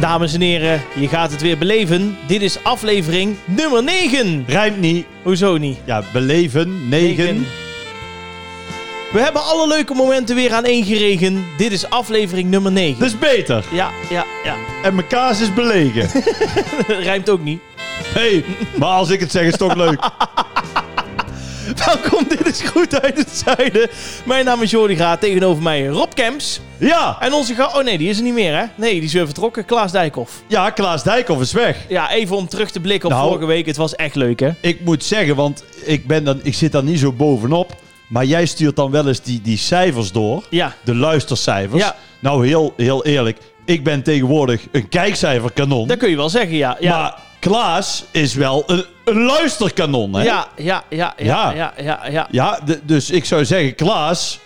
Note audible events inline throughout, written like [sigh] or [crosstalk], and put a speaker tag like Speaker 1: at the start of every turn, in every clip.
Speaker 1: Dames en heren, je gaat het weer beleven. Dit is aflevering nummer 9.
Speaker 2: Rijmt niet.
Speaker 1: Hoezo niet?
Speaker 2: Ja, beleven. Negen.
Speaker 1: Negen. We hebben alle leuke momenten weer aan één geregen. Dit is aflevering nummer 9.
Speaker 2: Dat is beter.
Speaker 1: Ja, ja, ja. [laughs]
Speaker 2: En mijn kaas is belegen.
Speaker 1: Rijmt ook niet.
Speaker 2: hey, maar als ik het zeg is het toch
Speaker 1: [laughs]
Speaker 2: leuk.
Speaker 1: Welkom, dit is Goed uit het Zuiden. Mijn naam is Jordi Graat, tegenover mij Rob Kemps.
Speaker 2: Ja.
Speaker 1: En onze ga... Oh nee, die is er niet meer hè? Nee, die is weer vertrokken. Klaas Dijkhoff.
Speaker 2: Ja, Klaas Dijkhoff is weg.
Speaker 1: Ja, even om terug te blikken op
Speaker 2: Nou.
Speaker 1: vorige week. Het was echt leuk hè?
Speaker 2: Ik moet zeggen, want ik, ben dan, ik zit daar niet zo bovenop. Maar jij stuurt dan wel eens die, die cijfers door.
Speaker 1: Ja.
Speaker 2: De luistercijfers.
Speaker 1: Ja.
Speaker 2: Nou, heel, heel eerlijk. Ik ben tegenwoordig een kijkcijferkanon.
Speaker 1: Dat kun je wel zeggen, ja. ja.
Speaker 2: Maar Klaas is wel een, een luisterkanon, hè?
Speaker 1: Ja, ja, ja, ja,
Speaker 2: Ja.
Speaker 1: ja, ja, ja.
Speaker 2: Ja, d- dus ik zou zeggen, Klaas,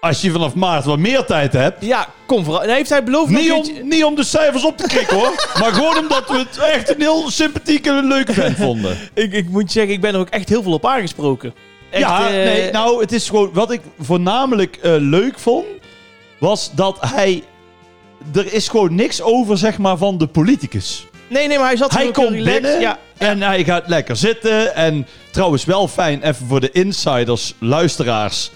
Speaker 2: als je vanaf maart wat meer tijd hebt...
Speaker 1: Ja, kom vooral. Nee, heeft hij beloofd
Speaker 2: Niet
Speaker 1: nog iets-
Speaker 2: om, niet om de cijfers op te krikken hoor.
Speaker 1: [laughs]
Speaker 2: Maar gewoon omdat we het echt een heel sympathieke en leuke
Speaker 1: [laughs]
Speaker 2: band vonden.
Speaker 1: Ik, ik moet zeggen, ik ben er ook echt heel veel op aangesproken. Echt,
Speaker 2: ja,
Speaker 1: eh,
Speaker 2: nee, nou, het is gewoon. Wat ik voornamelijk eh, leuk vond. was dat hij. Er is gewoon niks over, zeg maar, van de politicus.
Speaker 1: nee, nee, maar hij zat
Speaker 2: Hij
Speaker 1: hier ook heel
Speaker 2: komt
Speaker 1: relaxed.
Speaker 2: binnen
Speaker 1: Ja,
Speaker 2: en hij gaat lekker zitten. En trouwens, wel fijn even voor de insiders, luisteraars.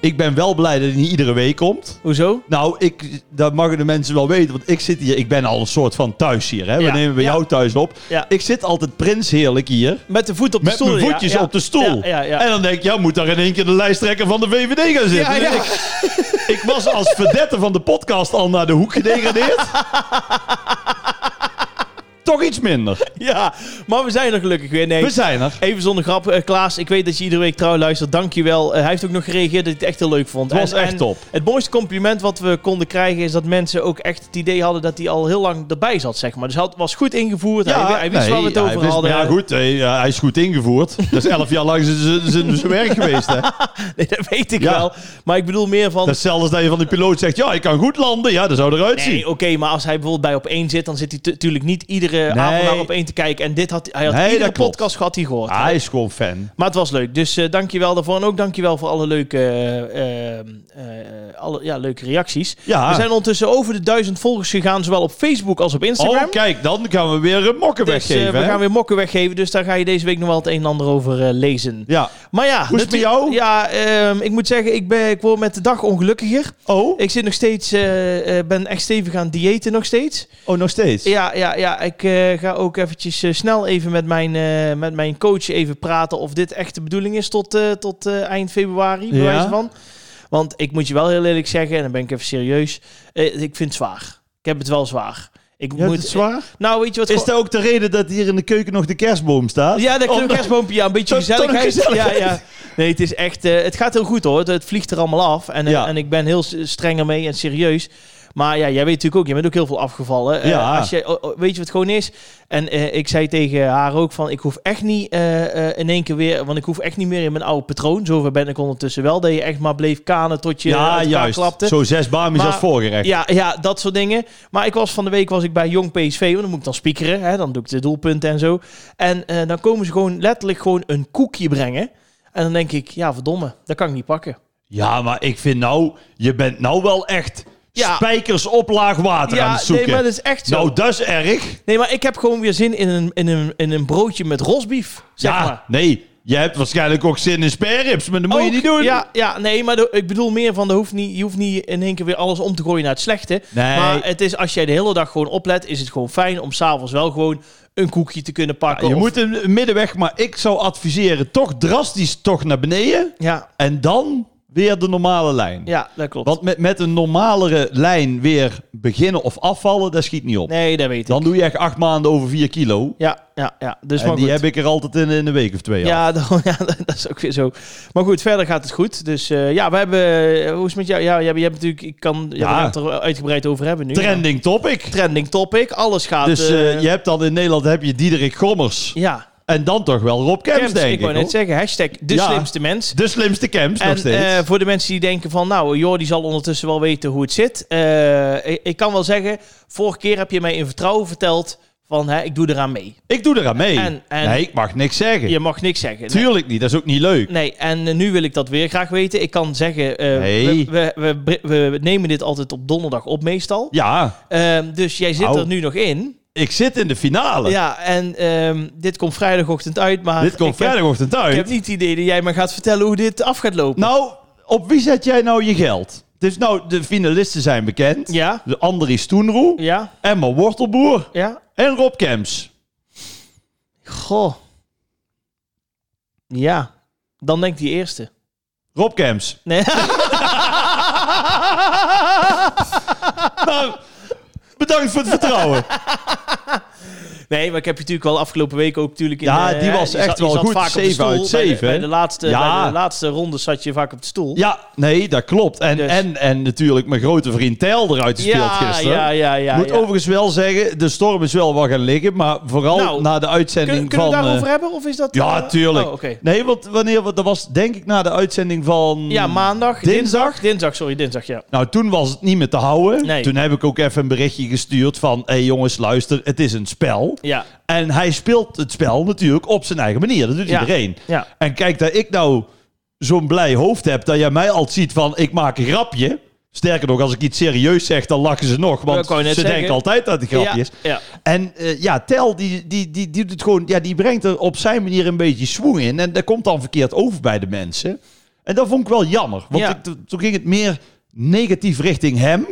Speaker 2: Ik ben wel blij dat hij niet iedere week komt.
Speaker 1: hoezo?
Speaker 2: Nou, ik, dat mogen de mensen wel weten, want ik zit hier. Ik ben al een soort van thuis hier. Hè? We
Speaker 1: Ja,
Speaker 2: nemen bij
Speaker 1: ja.
Speaker 2: jou thuis op.
Speaker 1: Ja.
Speaker 2: Ik zit altijd prinsheerlijk hier.
Speaker 1: Met de voet op de
Speaker 2: Met
Speaker 1: stoel.
Speaker 2: mijn
Speaker 1: ja,
Speaker 2: voetjes
Speaker 1: ja.
Speaker 2: op de stoel.
Speaker 1: Ja, ja, ja.
Speaker 2: En dan denk ik, ja, moet daar in één keer de lijsttrekker van de VVD gaan zitten.
Speaker 1: Ja, ja.
Speaker 2: Dus Ik, ik was als verdette van de podcast al naar de hoek
Speaker 1: [laughs]
Speaker 2: gedegradeerd. Toch iets minder.
Speaker 1: Ja, maar we zijn er gelukkig weer. Nee,
Speaker 2: We zijn er.
Speaker 1: even zonder grap. eh, Klaas, ik weet dat je iedere week trouw luistert. Dank je wel. Eh, hij heeft ook nog gereageerd dat hij het echt heel leuk vond.
Speaker 2: Het was
Speaker 1: En-
Speaker 2: echt
Speaker 1: en
Speaker 2: top.
Speaker 1: Het mooiste compliment wat we konden krijgen is dat mensen ook echt het idee hadden dat hij al heel lang erbij zat, zeg maar. Dus hij had- was goed ingevoerd. hij, hij wist
Speaker 2: nee,
Speaker 1: waar we het
Speaker 2: hij
Speaker 1: over
Speaker 2: wist-
Speaker 1: hadden.
Speaker 2: Ja, goed, hij, ja, hij is goed ingevoerd. Dat is elf jaar lang zijn- zijn zijn- zijn werk geweest, hè.
Speaker 1: [laughs] Nee, dat weet ik
Speaker 2: Ja.
Speaker 1: wel. Maar ik bedoel meer van...
Speaker 2: Dat is hetzelfde als dat je van die piloot zegt, ja, ik kan goed landen. Ja, dat zou eruit zien.
Speaker 1: Nee, oké, maar als hij bijvoorbeeld bij op één zit, dan zit hij natuurlijk niet iedere avond naar op één te kijken. En dit had hij had
Speaker 2: Nee,
Speaker 1: iedere
Speaker 2: dat klopt.
Speaker 1: podcast gehad hij gehoord.
Speaker 2: Ah, hij is gewoon fan.
Speaker 1: Maar het was leuk. Dus eh dankjewel daarvoor. En ook dankjewel voor alle leuke, eh, eh, eh, alle, ja, leuke reacties.
Speaker 2: Ja.
Speaker 1: We zijn ondertussen over de duizend volgers gegaan, zowel op Facebook als op Instagram.
Speaker 2: Oh, kijk, dan gaan we weer een mokken
Speaker 1: Dus, eh,
Speaker 2: weggeven,
Speaker 1: we
Speaker 2: hè?
Speaker 1: gaan weer mokken weggeven, dus daar ga je deze week nog wel het een en ander over eh, lezen.
Speaker 2: Ja.
Speaker 1: Maar ja,
Speaker 2: Hoe is het met
Speaker 1: natu-
Speaker 2: jou?
Speaker 1: Ja, ehm, ik moet zeggen, ik, ben, ik word met de dag ongelukkiger.
Speaker 2: Oh,
Speaker 1: Ik zit nog steeds, eh, eh, ben echt stevig aan het diëten nog steeds.
Speaker 2: oh, nog steeds?
Speaker 1: Ja, ja, ja. ik eh, ga ook eventjes eh, snel even met mijn, eh, met mijn coach even praten of dit echt de bedoeling is tot, eh, tot eh, eind februari, bij
Speaker 2: Ja.
Speaker 1: wijze van. Want ik moet je wel heel eerlijk zeggen, en dan ben ik even serieus, eh, ik vind het zwaar. Ik heb het wel zwaar. Ik
Speaker 2: Ja,
Speaker 1: moet,
Speaker 2: dat is zwaar.
Speaker 1: Nou, weet je wat...
Speaker 2: Is dat ook de reden dat hier in de keuken nog de kerstboom staat?
Speaker 1: Ja, dat klopt.
Speaker 2: Omdat-
Speaker 1: kerstboompje, ja, een beetje
Speaker 2: Tot- tot een
Speaker 1: gezelligheid.
Speaker 2: gezelligheid.
Speaker 1: Ja, ja. Nee, het is echt... eh, het gaat heel goed hoor. Het, het vliegt er allemaal af. En, eh,
Speaker 2: Ja.
Speaker 1: en ik ben heel s- streng ermee en serieus. Maar ja, jij weet natuurlijk ook, je bent ook heel veel afgevallen. Eh,
Speaker 2: Ja.
Speaker 1: als je, oh, oh, weet je wat het gewoon is? En eh, ik zei tegen haar ook van, ik hoef echt niet eh, eh, in één keer weer... Want ik hoef echt niet meer in mijn oude patroon. Zover ben ik ondertussen wel. Dat je echt maar bleef kanen tot je uit
Speaker 2: Ja,
Speaker 1: elkaar
Speaker 2: juist.
Speaker 1: klapte.
Speaker 2: Zo zes bamies
Speaker 1: Maar-
Speaker 2: als voorgerecht.
Speaker 1: Ja, ja, dat soort dingen. Maar ik was van de week was ik bij Jong PSV, want dan moet ik dan speakeren. Hè, dan doe ik de doelpunten en zo. En eh, dan komen ze gewoon letterlijk gewoon een koekje brengen. En dan denk ik, ja verdomme, dat kan ik niet pakken.
Speaker 2: Ja, maar ik vind nou, je bent nou wel echt
Speaker 1: Ja.
Speaker 2: spijkers op laag water aan
Speaker 1: ja,
Speaker 2: het zoeken.
Speaker 1: nee, maar dat is echt zo.
Speaker 2: Nou, dat is erg.
Speaker 1: nee, maar ik heb gewoon weer zin in een, in een, in een broodje met rosbief, zeg
Speaker 2: ja,
Speaker 1: maar.
Speaker 2: nee. Je hebt waarschijnlijk ook zin in sperrips, maar dat moet je
Speaker 1: Ook-
Speaker 2: niet doen.
Speaker 1: Ja, ja nee, maar de- ik bedoel meer van, dat hoeft niet, je hoeft niet in één keer weer alles om te gooien naar het slechte.
Speaker 2: Nee.
Speaker 1: Maar het is, als jij de hele dag gewoon oplet, is het gewoon fijn om s'avonds wel gewoon een koekje te kunnen pakken.
Speaker 2: Je
Speaker 1: of-
Speaker 2: moet een middenweg, maar ik zou adviseren toch drastisch toch naar beneden.
Speaker 1: ja,
Speaker 2: En dan weer de normale lijn.
Speaker 1: ja, dat klopt.
Speaker 2: Want met, met een normalere lijn weer beginnen of afvallen, dat schiet niet op.
Speaker 1: Nee, dat weet ik.
Speaker 2: Dan doe je echt acht maanden over vier kilo.
Speaker 1: Ja, ja, ja. Dus
Speaker 2: en
Speaker 1: maar
Speaker 2: die
Speaker 1: goed.
Speaker 2: heb ik er altijd in, in een week of twee. al.
Speaker 1: ja, [laughs] dan- ja, dat is ook weer zo. Maar goed, verder gaat het goed. Dus eh, ja, we hebben... Hoe is het met jou? Ja, je hebt, je hebt natuurlijk... Ik kan, ja.
Speaker 2: Ja.
Speaker 1: We gaan het er uitgebreid over hebben nu.
Speaker 2: Trending topic.
Speaker 1: Trending topic. Alles gaat...
Speaker 2: Dus eh,
Speaker 1: eh,
Speaker 2: je hebt dan in Nederland heb je Diederik Gommers.
Speaker 1: Ja.
Speaker 2: En dan toch wel Rob Kemps,
Speaker 1: Camps,
Speaker 2: denk
Speaker 1: ik
Speaker 2: ik.
Speaker 1: wou net
Speaker 2: hoor.
Speaker 1: zeggen. Hashtag de
Speaker 2: Ja.
Speaker 1: slimste mens.
Speaker 2: De slimste Kemps nog
Speaker 1: En
Speaker 2: steeds.
Speaker 1: eh, voor de mensen die denken van, nou, Jordi zal ondertussen wel weten hoe het zit. Eh, ik, ik kan wel zeggen, vorige keer heb je mij in vertrouwen verteld Van, hè, ik doe eraan mee.
Speaker 2: Ik doe eraan mee.
Speaker 1: En- en-
Speaker 2: nee, ik mag niks zeggen.
Speaker 1: Je mag niks zeggen. Nee.
Speaker 2: Tuurlijk niet, dat is ook niet leuk.
Speaker 1: Nee, en eh, nu wil ik dat weer graag weten. Ik kan zeggen, eh,
Speaker 2: Nee.
Speaker 1: we, we, we, we nemen dit altijd op donderdag op meestal.
Speaker 2: Ja,
Speaker 1: Ehm, dus jij zit
Speaker 2: Au.
Speaker 1: er nu nog in.
Speaker 2: ik zit in de finale.
Speaker 1: Ja, en ehm, dit komt vrijdagochtend uit, maar
Speaker 2: Dit komt
Speaker 1: ik, heb,
Speaker 2: vrijdagochtend
Speaker 1: ik
Speaker 2: uit.
Speaker 1: heb niet het idee dat jij me gaat vertellen hoe dit af gaat lopen.
Speaker 2: Nou, op wie zet jij nou je geld? Dus nou, de finalisten zijn bekend.
Speaker 1: Ja,
Speaker 2: De Andries Stoenroe,
Speaker 1: ja,
Speaker 2: Emma Wortelboer
Speaker 1: ja.
Speaker 2: en Rob Kems.
Speaker 1: Goh. Ja, dan denk ik die eerste.
Speaker 2: Rob Kems.
Speaker 1: Nee. [laughs]
Speaker 2: Nou, bedankt voor het
Speaker 1: [laughs]
Speaker 2: vertrouwen.
Speaker 1: nee, maar ik heb je natuurlijk wel afgelopen week ook natuurlijk... In,
Speaker 2: Ja,
Speaker 1: eh,
Speaker 2: die
Speaker 1: hè,
Speaker 2: was
Speaker 1: je
Speaker 2: echt
Speaker 1: zat- je
Speaker 2: wel
Speaker 1: zat
Speaker 2: goed.
Speaker 1: vaak op de
Speaker 2: Zeven
Speaker 1: stoel.
Speaker 2: uit
Speaker 1: Bij de-
Speaker 2: zeven,
Speaker 1: Bij
Speaker 2: hè?
Speaker 1: de, laatste,
Speaker 2: Ja.
Speaker 1: bij de laatste ronde zat je vaak op de stoel.
Speaker 2: Ja, nee, dat klopt. En,
Speaker 1: Dus.
Speaker 2: en, en natuurlijk mijn grote vriend Tel eruit gespeeld gisteren.
Speaker 1: Ja, ja, ja.
Speaker 2: Moet
Speaker 1: ja.
Speaker 2: overigens wel zeggen, de storm is wel wat gaan liggen. Maar vooral
Speaker 1: Nou,
Speaker 2: na de uitzending
Speaker 1: Kun- kunnen we
Speaker 2: van...
Speaker 1: daarover
Speaker 2: eh,
Speaker 1: hebben? Of is dat...
Speaker 2: ja,
Speaker 1: eh,
Speaker 2: tuurlijk.
Speaker 1: Oh, oké.
Speaker 2: Nee, want wanneer... want Dat was denk ik na de uitzending van...
Speaker 1: Ja, maandag.
Speaker 2: Dinsdag?
Speaker 1: Dinsdag, sorry, dinsdag, ja.
Speaker 2: Nou, toen was het niet meer te houden.
Speaker 1: Nee.
Speaker 2: Toen heb ik ook even een berichtje gestuurd van... Hé hey jongens, luister, het is een spel.
Speaker 1: Ja,
Speaker 2: En hij speelt het spel natuurlijk op zijn eigen manier. Dat doet
Speaker 1: Ja.
Speaker 2: iedereen.
Speaker 1: ja.
Speaker 2: En kijk, dat ik nou zo'n blij hoofd heb... dat jij mij al ziet van, ik maak een grapje. Sterker nog, als ik iets serieus zeg, dan lachen ze nog.
Speaker 1: Ja, ik
Speaker 2: Want ze
Speaker 1: wou net zeggen.
Speaker 2: denken altijd dat het een grapje is.
Speaker 1: Ja, ja.
Speaker 2: En eh, ja, Tel, die, die, die, die, doet het gewoon, ja, die brengt er op zijn manier een beetje swoeng in. En dat komt dan verkeerd over bij de mensen. En dat vond ik wel jammer. Want
Speaker 1: Ja.
Speaker 2: ik- to- toen ging het meer negatief richting hem.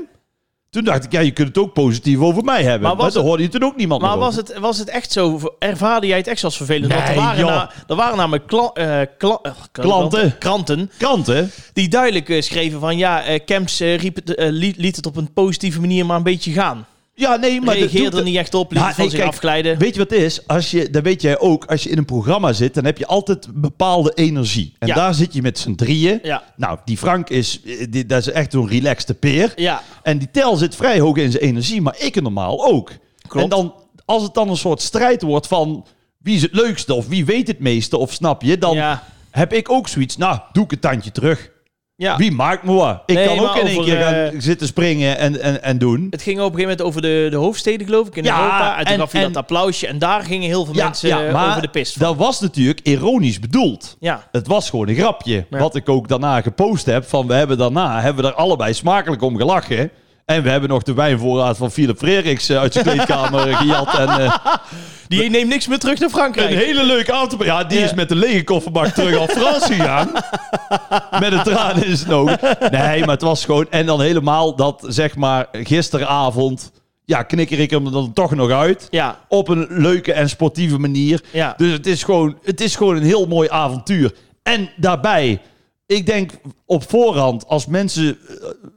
Speaker 2: Toen dacht ik, ja, je kunt het ook positief over mij hebben.
Speaker 1: Maar
Speaker 2: Maar,
Speaker 1: was
Speaker 2: dan hoorde je toen ook niemand
Speaker 1: Maar
Speaker 2: meer
Speaker 1: was
Speaker 2: over.
Speaker 1: het, was het echt zo? Ervaarde jij het echt als vervelend? Want er
Speaker 2: Nee,
Speaker 1: waren,
Speaker 2: joh.
Speaker 1: na- er waren namelijk kla- eh, kla- eh,
Speaker 2: Klanten.
Speaker 1: kranten
Speaker 2: Kranten?
Speaker 1: die duidelijk eh, schreven van ja, eh Camps eh, riep het, eh, liet, liet het op een positieve manier maar een beetje gaan.
Speaker 2: Ja, nee, maar...
Speaker 1: Maar
Speaker 2: dat doet-
Speaker 1: Reageerde er niet eh. echt op, liet
Speaker 2: Ja,
Speaker 1: het van
Speaker 2: nee,
Speaker 1: zich
Speaker 2: kijk,
Speaker 1: afglijden.
Speaker 2: Weet je wat het is? Als je, dat weet jij ook. Als je in een programma zit, dan heb je altijd bepaalde energie. En
Speaker 1: Ja.
Speaker 2: daar zit je met z'n drieën.
Speaker 1: Ja,
Speaker 2: Nou, die Frank is, eh, die, dat is echt zo'n relaxte peer.
Speaker 1: ja,
Speaker 2: En die tel zit vrij hoog in zijn energie, maar ik normaal ook.
Speaker 1: Klopt.
Speaker 2: En dan, als het dan een soort strijd wordt van wie is het leukste of wie weet het meeste of snap je, dan
Speaker 1: ja.
Speaker 2: heb ik ook zoiets. Nou, doe ik een tandje terug.
Speaker 1: ja.
Speaker 2: Wie maakt me wat? Ik
Speaker 1: Nee,
Speaker 2: kan ook
Speaker 1: maar
Speaker 2: in één
Speaker 1: over,
Speaker 2: keer gaan
Speaker 1: eh,
Speaker 2: zitten springen en, en, en doen.
Speaker 1: Het ging op een gegeven moment over de, de hoofdsteden, geloof ik, in
Speaker 2: Ja,
Speaker 1: Europa. En toen
Speaker 2: en-
Speaker 1: gaf je
Speaker 2: en-
Speaker 1: dat applausje. En daar gingen heel veel mensen eh, over de pist. van.
Speaker 2: dat was natuurlijk ironisch bedoeld.
Speaker 1: Ja,
Speaker 2: Het was gewoon een grapje.
Speaker 1: Ja.
Speaker 2: Wat ik ook daarna gepost heb. Van we hebben daarna hebben we er allebei smakelijk om gelachen. En we hebben nog de wijnvoorraad van Philip Frerichs eh, uit zijn kleedkamer [laughs] eh, gejat. En eh,
Speaker 1: die neemt niks meer terug naar Frankrijk.
Speaker 2: een hele leuke auto. Ja, die
Speaker 1: Ja.
Speaker 2: is met de lege kofferbak terug naar Frans gegaan. [laughs] met een traan in zijn ogen. Nee, maar het was gewoon. En dan helemaal dat zeg maar gisteravond. Ja, knikker ik hem er dan toch nog uit.
Speaker 1: Ja,
Speaker 2: Op een leuke en sportieve manier.
Speaker 1: ja.
Speaker 2: Dus het is, gewoon, het is gewoon een heel mooi avontuur. En daarbij, ik denk op voorhand, als mensen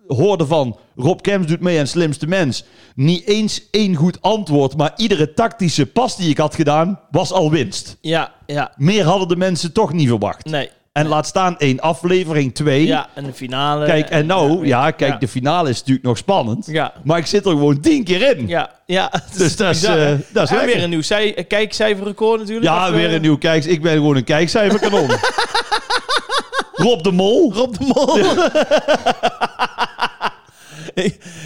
Speaker 2: eh, hoorden van Rob Kems doet mee aan Slimste Mens, niet eens één goed antwoord, maar iedere tactische pas die ik had gedaan, was al winst.
Speaker 1: ja, ja.
Speaker 2: Meer hadden de mensen toch niet verwacht.
Speaker 1: Nee.
Speaker 2: En laat staan één aflevering, twee.
Speaker 1: Ja, en de finale.
Speaker 2: Kijk, en nou, ja, kijk,
Speaker 1: Ja.
Speaker 2: de finale is natuurlijk nog spannend.
Speaker 1: Ja.
Speaker 2: Maar ik zit er gewoon tien keer in.
Speaker 1: Ja, ja. [laughs]
Speaker 2: Dus dat is,
Speaker 1: bizar, hè?
Speaker 2: eh, dat is
Speaker 1: en
Speaker 2: lekker.
Speaker 1: weer een nieuw zij- eh, kijkcijferrecord natuurlijk.
Speaker 2: Ja,
Speaker 1: Of,
Speaker 2: weer
Speaker 1: eh,
Speaker 2: een nieuw kijks. Ik ben gewoon een
Speaker 1: [laughs]
Speaker 2: kijkcijferkanon. Rob de Mol.
Speaker 1: Rob de Mol.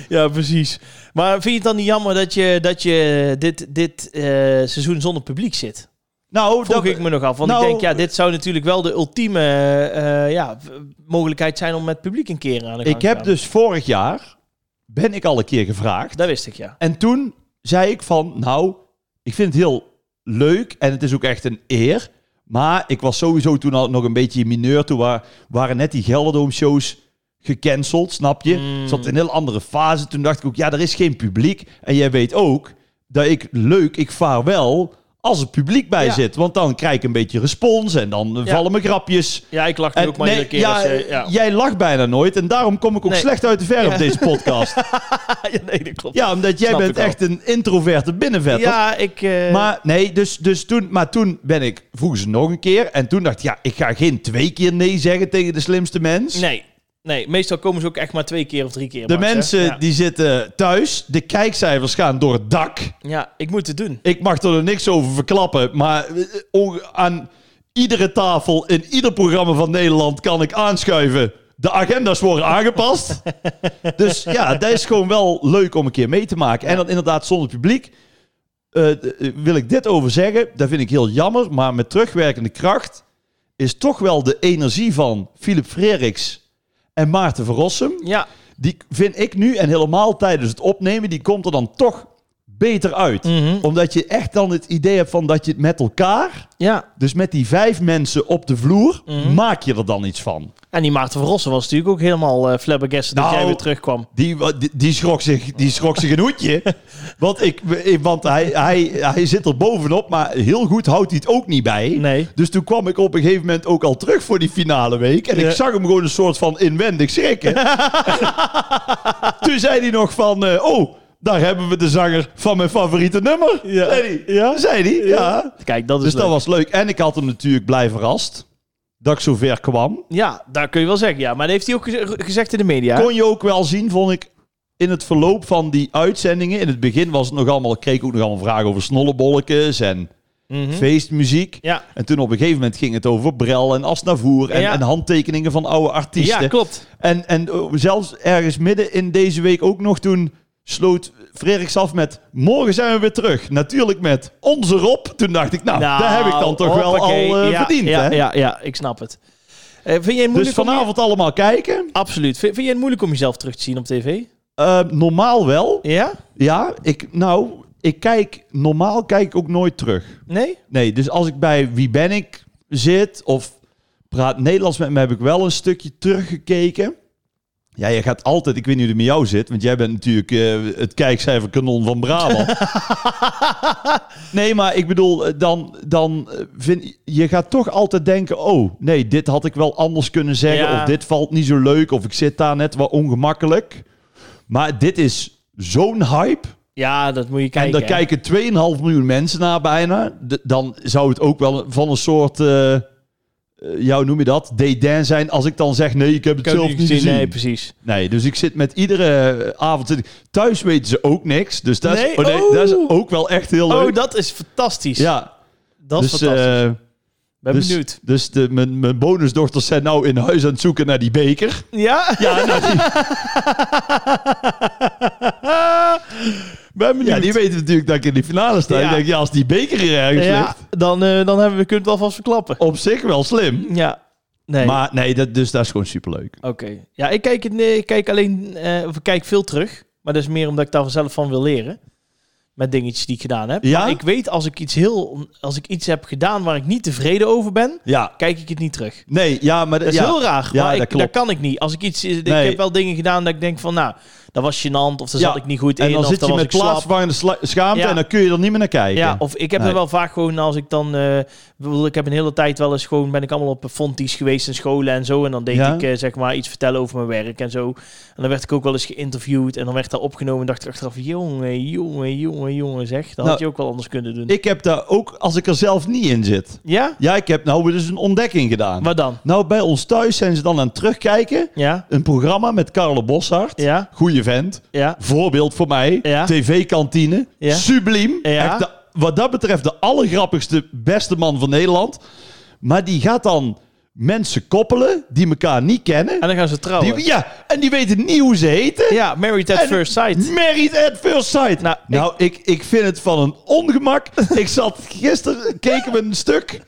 Speaker 1: ja, precies. Maar vind je het dan niet jammer dat je, dat je dit, dit eh, seizoen zonder publiek zit?
Speaker 2: Nou,
Speaker 1: Vroeg
Speaker 2: dat,
Speaker 1: ik me nog af. Want
Speaker 2: nou-
Speaker 1: ik denk, ja, dit zou natuurlijk wel de ultieme eh, ja, v- mogelijkheid zijn om met publiek een keer aan de gang
Speaker 2: ik
Speaker 1: te
Speaker 2: heb
Speaker 1: gaan.
Speaker 2: dus vorig jaar, ben ik al een keer gevraagd.
Speaker 1: Dat wist ik, ja.
Speaker 2: En toen zei ik van, nou, ik vind het heel leuk en het is ook echt een eer. Maar ik was sowieso toen al nog een beetje in mineur. Toen wa- waren net die Gelderdoom-shows gecanceld, snap je?
Speaker 1: Mm.
Speaker 2: Zat in een heel andere fase. Toen dacht ik ook, ja, er is geen publiek. En jij weet ook dat ik leuk, ik vaar wel als er publiek bij
Speaker 1: Ja.
Speaker 2: zit. Want dan krijg ik een beetje respons en dan eh,
Speaker 1: Ja.
Speaker 2: vallen mijn grapjes.
Speaker 1: Ja, ik lag nu
Speaker 2: En
Speaker 1: ook maar
Speaker 2: nee,
Speaker 1: iedere keer.
Speaker 2: ja,
Speaker 1: als, eh, ja.
Speaker 2: Jij lacht bijna nooit en daarom kom ik ook
Speaker 1: Nee.
Speaker 2: slecht uit de verf
Speaker 1: [laughs] Ja.
Speaker 2: op deze podcast.
Speaker 1: Ja, [laughs] nee, dat klopt.
Speaker 2: Ja, omdat jij
Speaker 1: Snap
Speaker 2: bent
Speaker 1: ik al.
Speaker 2: echt een introverte binnenvetter.
Speaker 1: Ja, ik... eh,
Speaker 2: Maar nee, dus, dus toen, maar toen ben ik, vroegen ze nog een keer. En toen dacht ik, ja, ik ga geen twee keer nee zeggen tegen de slimste mens.
Speaker 1: Nee, nee, meestal komen ze ook echt maar twee keer of drie keer.
Speaker 2: de
Speaker 1: max, hè?
Speaker 2: mensen
Speaker 1: Ja.
Speaker 2: die zitten thuis, de kijkcijfers gaan door het dak.
Speaker 1: Ja, ik moet het doen.
Speaker 2: Ik mag er niks over verklappen, maar eh, onge- aan iedere tafel in ieder programma van Nederland kan ik aanschuiven. De agenda's worden aangepast. dus ja, dat is gewoon wel leuk om een keer mee te maken. En dan inderdaad zonder publiek. eh, eh, wil ik dit over zeggen. Dat vind ik heel jammer. Maar met terugwerkende kracht is toch wel de energie van Philip Freriks en Maarten Verrossum.
Speaker 1: Ja,
Speaker 2: Die vind ik nu en helemaal tijdens het opnemen, die komt er dan toch beter uit.
Speaker 1: Mhm.
Speaker 2: Omdat je echt dan het idee hebt van dat je het met elkaar,
Speaker 1: ja.
Speaker 2: dus met die vijf mensen op de vloer,
Speaker 1: Mhm.
Speaker 2: maak je er dan iets van.
Speaker 1: En die Maarten van Rossen was natuurlijk ook helemaal eh flabbergasted dat
Speaker 2: Nou.
Speaker 1: jij weer terugkwam.
Speaker 2: Die, wa- die, die schrok zich, die schrok zich een
Speaker 1: [laughs]
Speaker 2: hoedje. Want, ik, ik- want hij, hij, hij zit er bovenop, maar heel goed houdt hij het ook niet bij.
Speaker 1: Nee.
Speaker 2: Dus toen kwam ik op een gegeven moment ook al terug voor die finale week. En
Speaker 1: Ja.
Speaker 2: ik zag hem gewoon een soort van inwendig
Speaker 1: [laughs]
Speaker 2: schrikken. toen zei hij nog van, eh, oh, daar hebben we de zanger van mijn favoriete nummer.
Speaker 1: Ja.
Speaker 2: Zei hij. Ja. Zei hij, ja.
Speaker 1: Kijk, dat is
Speaker 2: Dus
Speaker 1: leuk.
Speaker 2: dat was leuk. En ik had hem natuurlijk blij verrast. Dat ik zover kwam.
Speaker 1: Ja, daar kun je wel zeggen. Ja, maar dat heeft hij ook gez- gezegd in de media. hè?
Speaker 2: Kon je ook wel zien, vond ik, in het verloop van die uitzendingen. In het begin was het nog allemaal, kreeg ik ook nog allemaal vragen over snollebolletjes en
Speaker 1: Mhm.
Speaker 2: feestmuziek.
Speaker 1: Ja.
Speaker 2: En toen op een gegeven moment ging het over Brel en Asnavoer en,
Speaker 1: Ja.
Speaker 2: en handtekeningen van oude artiesten.
Speaker 1: ja, klopt.
Speaker 2: en en eh, zelfs ergens midden in deze week ook nog toen sloot Frederiks af met morgen zijn we weer terug. Natuurlijk met onze Rob. Toen dacht ik, nou,
Speaker 1: Nou,
Speaker 2: daar heb ik dan toch wel al
Speaker 1: hoppakee.
Speaker 2: eh,
Speaker 1: Ja,
Speaker 2: verdiend.
Speaker 1: ja,
Speaker 2: hè?
Speaker 1: Ja, ja, ik snap het. Eh, vind jij het moeilijk
Speaker 2: Dus vanavond allemaal kijken.
Speaker 1: Om... Absoluut. Vind, vind jij het moeilijk om jezelf terug te zien op tv?
Speaker 2: Eh, normaal wel.
Speaker 1: Ja?
Speaker 2: Ja, ik, nou, ik kijk, normaal kijk ik ook nooit terug.
Speaker 1: Nee?
Speaker 2: Nee, dus als ik bij Wie Ben Ik zit of praat Nederlands met me, heb ik wel een stukje teruggekeken. Ja, je gaat altijd, ik weet niet hoe het met jou zit, want jij bent natuurlijk eh, het kijkcijferkanon van Brabant. nee, maar ik bedoel, eh, dan, dan eh, vind je gaat toch altijd denken, oh nee, dit had ik wel anders kunnen zeggen,
Speaker 1: Ja.
Speaker 2: of dit valt niet zo leuk, of ik zit daar net wat ongemakkelijk. Maar dit is zo'n hype.
Speaker 1: Ja, dat moet je kijken.
Speaker 2: En daar
Speaker 1: hè?
Speaker 2: kijken 2,5 miljoen mensen naar bijna. D- dan zou het ook wel van een soort, eh eh, ja, hoe noem je dat, dédain zijn als ik dan zeg, nee, ik heb het
Speaker 1: Ik heb
Speaker 2: zelf
Speaker 1: niet
Speaker 2: niet
Speaker 1: gezien.
Speaker 2: gezien.
Speaker 1: Nee,
Speaker 2: Nee,
Speaker 1: precies.
Speaker 2: dus ik zit met iedere eh, avond... zit ik- Thuis weten ze ook niks, dus dat is,
Speaker 1: Nee?
Speaker 2: oh nee,
Speaker 1: Oh.
Speaker 2: dat is ook wel echt heel leuk.
Speaker 1: Oh, dat is fantastisch.
Speaker 2: ja,
Speaker 1: dat
Speaker 2: dus,
Speaker 1: is fantastisch.
Speaker 2: eh,
Speaker 1: ben
Speaker 2: dus,
Speaker 1: benieuwd.
Speaker 2: Dus de, mijn, mijn bonusdochters zijn nou in huis aan het zoeken naar die beker.
Speaker 1: Ja?
Speaker 2: Ja, [laughs] nou, die,
Speaker 1: ben
Speaker 2: ja, die weten natuurlijk dat ik in die finale sta.
Speaker 1: Ja.
Speaker 2: Ik denk, ja, als die beker hier ergens
Speaker 1: ja,
Speaker 2: ligt,
Speaker 1: dan, eh, dan hebben we kunnen het alvast verklappen.
Speaker 2: op zich wel slim.
Speaker 1: Ja. Nee.
Speaker 2: Maar nee, dat, dus dat is gewoon superleuk.
Speaker 1: Oké. Ja, ik kijk, het, nee, ik kijk alleen, eh, of ik kijk veel terug. Maar dat is meer omdat ik daar vanzelf van wil leren. Met dingetjes die ik gedaan heb.
Speaker 2: Ja?
Speaker 1: Maar ik weet als ik iets heel, als ik iets heb gedaan waar ik niet tevreden over ben,
Speaker 2: Ja.
Speaker 1: kijk ik het niet terug.
Speaker 2: Nee, ja, maar...
Speaker 1: Dat is
Speaker 2: ja.
Speaker 1: heel raar. maar
Speaker 2: Ja, dat
Speaker 1: ik, dat,
Speaker 2: klopt.
Speaker 1: kan ik niet. Als ik iets, ik
Speaker 2: Nee.
Speaker 1: heb wel dingen gedaan dat ik denk van, nou, dat was gênant of daar
Speaker 2: Ja.
Speaker 1: zat ik niet goed in.
Speaker 2: En dan
Speaker 1: of
Speaker 2: zit
Speaker 1: daar
Speaker 2: je
Speaker 1: was
Speaker 2: met
Speaker 1: ik slap.
Speaker 2: plaatsvervangende sla- schaamte
Speaker 1: Ja.
Speaker 2: en dan kun je er niet meer naar kijken.
Speaker 1: Ja, of ik heb
Speaker 2: Nee.
Speaker 1: er wel vaak gewoon als ik dan. eh, ik bedoel, ik heb een hele tijd wel eens gewoon. ben ik allemaal op fonties geweest in scholen en zo. En dan deed
Speaker 2: Ja.
Speaker 1: ik eh, zeg maar iets vertellen over mijn werk en zo. En dan werd ik ook wel eens geïnterviewd. En dan werd dat opgenomen. En dacht ik achteraf: jongen, jongen, jongen, jongen, zeg. Dat had
Speaker 2: Nou,
Speaker 1: je ook wel anders kunnen doen.
Speaker 2: Ik heb daar ook, als ik er zelf niet in zit...
Speaker 1: ja?
Speaker 2: Ja, ik heb nou weer dus een ontdekking gedaan.
Speaker 1: Wat dan?
Speaker 2: Nou, bij ons thuis zijn ze dan aan het terugkijken.
Speaker 1: Ja?
Speaker 2: Een programma met Carlo Boshart.
Speaker 1: Ja?
Speaker 2: Goeie vent.
Speaker 1: Ja?
Speaker 2: Voorbeeld voor mij.
Speaker 1: Ja.
Speaker 2: TV-kantine.
Speaker 1: Ja.
Speaker 2: Subliem.
Speaker 1: Ja.
Speaker 2: Echt de- wat dat betreft de allergrappigste, beste man van Nederland. Maar die gaat dan mensen koppelen die elkaar niet kennen.
Speaker 1: En dan gaan ze trouwen.
Speaker 2: Die, ja, en die weten niet hoe ze heten.
Speaker 1: ja, Married at
Speaker 2: En-
Speaker 1: First Sight.
Speaker 2: Married at first sight.
Speaker 1: Nou,
Speaker 2: Nou, ik, ik, vind het van een
Speaker 1: [laughs]
Speaker 2: ongemak. ik zat gisteren, keken we een stuk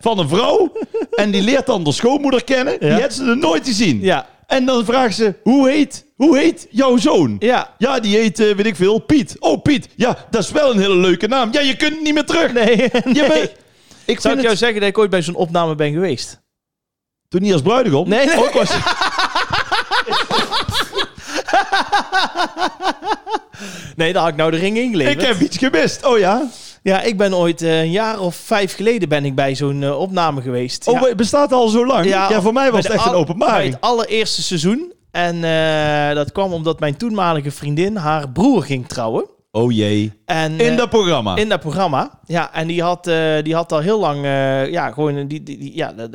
Speaker 2: van een vrouw. En die leert dan de schoonmoeder kennen.
Speaker 1: Ja.
Speaker 2: Die had ze nog nooit gezien.
Speaker 1: Ja.
Speaker 2: En dan vraagt ze, hoe heet, hoe heet jouw zoon?
Speaker 1: Ja.
Speaker 2: Ja, die heet, eh, weet ik veel, Piet. Oh, Piet. Ja, dat is wel een hele leuke naam. Ja, je kunt het niet meer terug. [laughs]
Speaker 1: Nee.
Speaker 2: Je bent- ik
Speaker 1: Zou
Speaker 2: vind
Speaker 1: ik
Speaker 2: het,
Speaker 1: jou zeggen dat ik ooit bij zo'n opname ben geweest?
Speaker 2: toen niet als bruidegom.
Speaker 1: Nee, [laughs] nee.
Speaker 2: Ook was,
Speaker 1: Nee, daar had ik nou de ring ingeleverd.
Speaker 2: ik heb iets gemist. Oh ja.
Speaker 1: Ja, ik ben ooit eh, een jaar of vijf geleden ben ik bij zo'n eh, opname geweest.
Speaker 2: Oh,
Speaker 1: ja.
Speaker 2: het bestaat al zo lang. Ja, voor mij was
Speaker 1: bij
Speaker 2: het
Speaker 1: de
Speaker 2: echt een
Speaker 1: al- Bij
Speaker 2: openbaring.
Speaker 1: het allereerste seizoen. En eh, dat kwam omdat mijn toenmalige vriendin haar broer ging trouwen.
Speaker 2: Oh jee.
Speaker 1: En,
Speaker 2: In
Speaker 1: eh,
Speaker 2: dat programma.
Speaker 1: in dat programma. Ja, en die had, eh, die had al heel lang, eh, ja, gewoon, een- die, die, die- ja, d-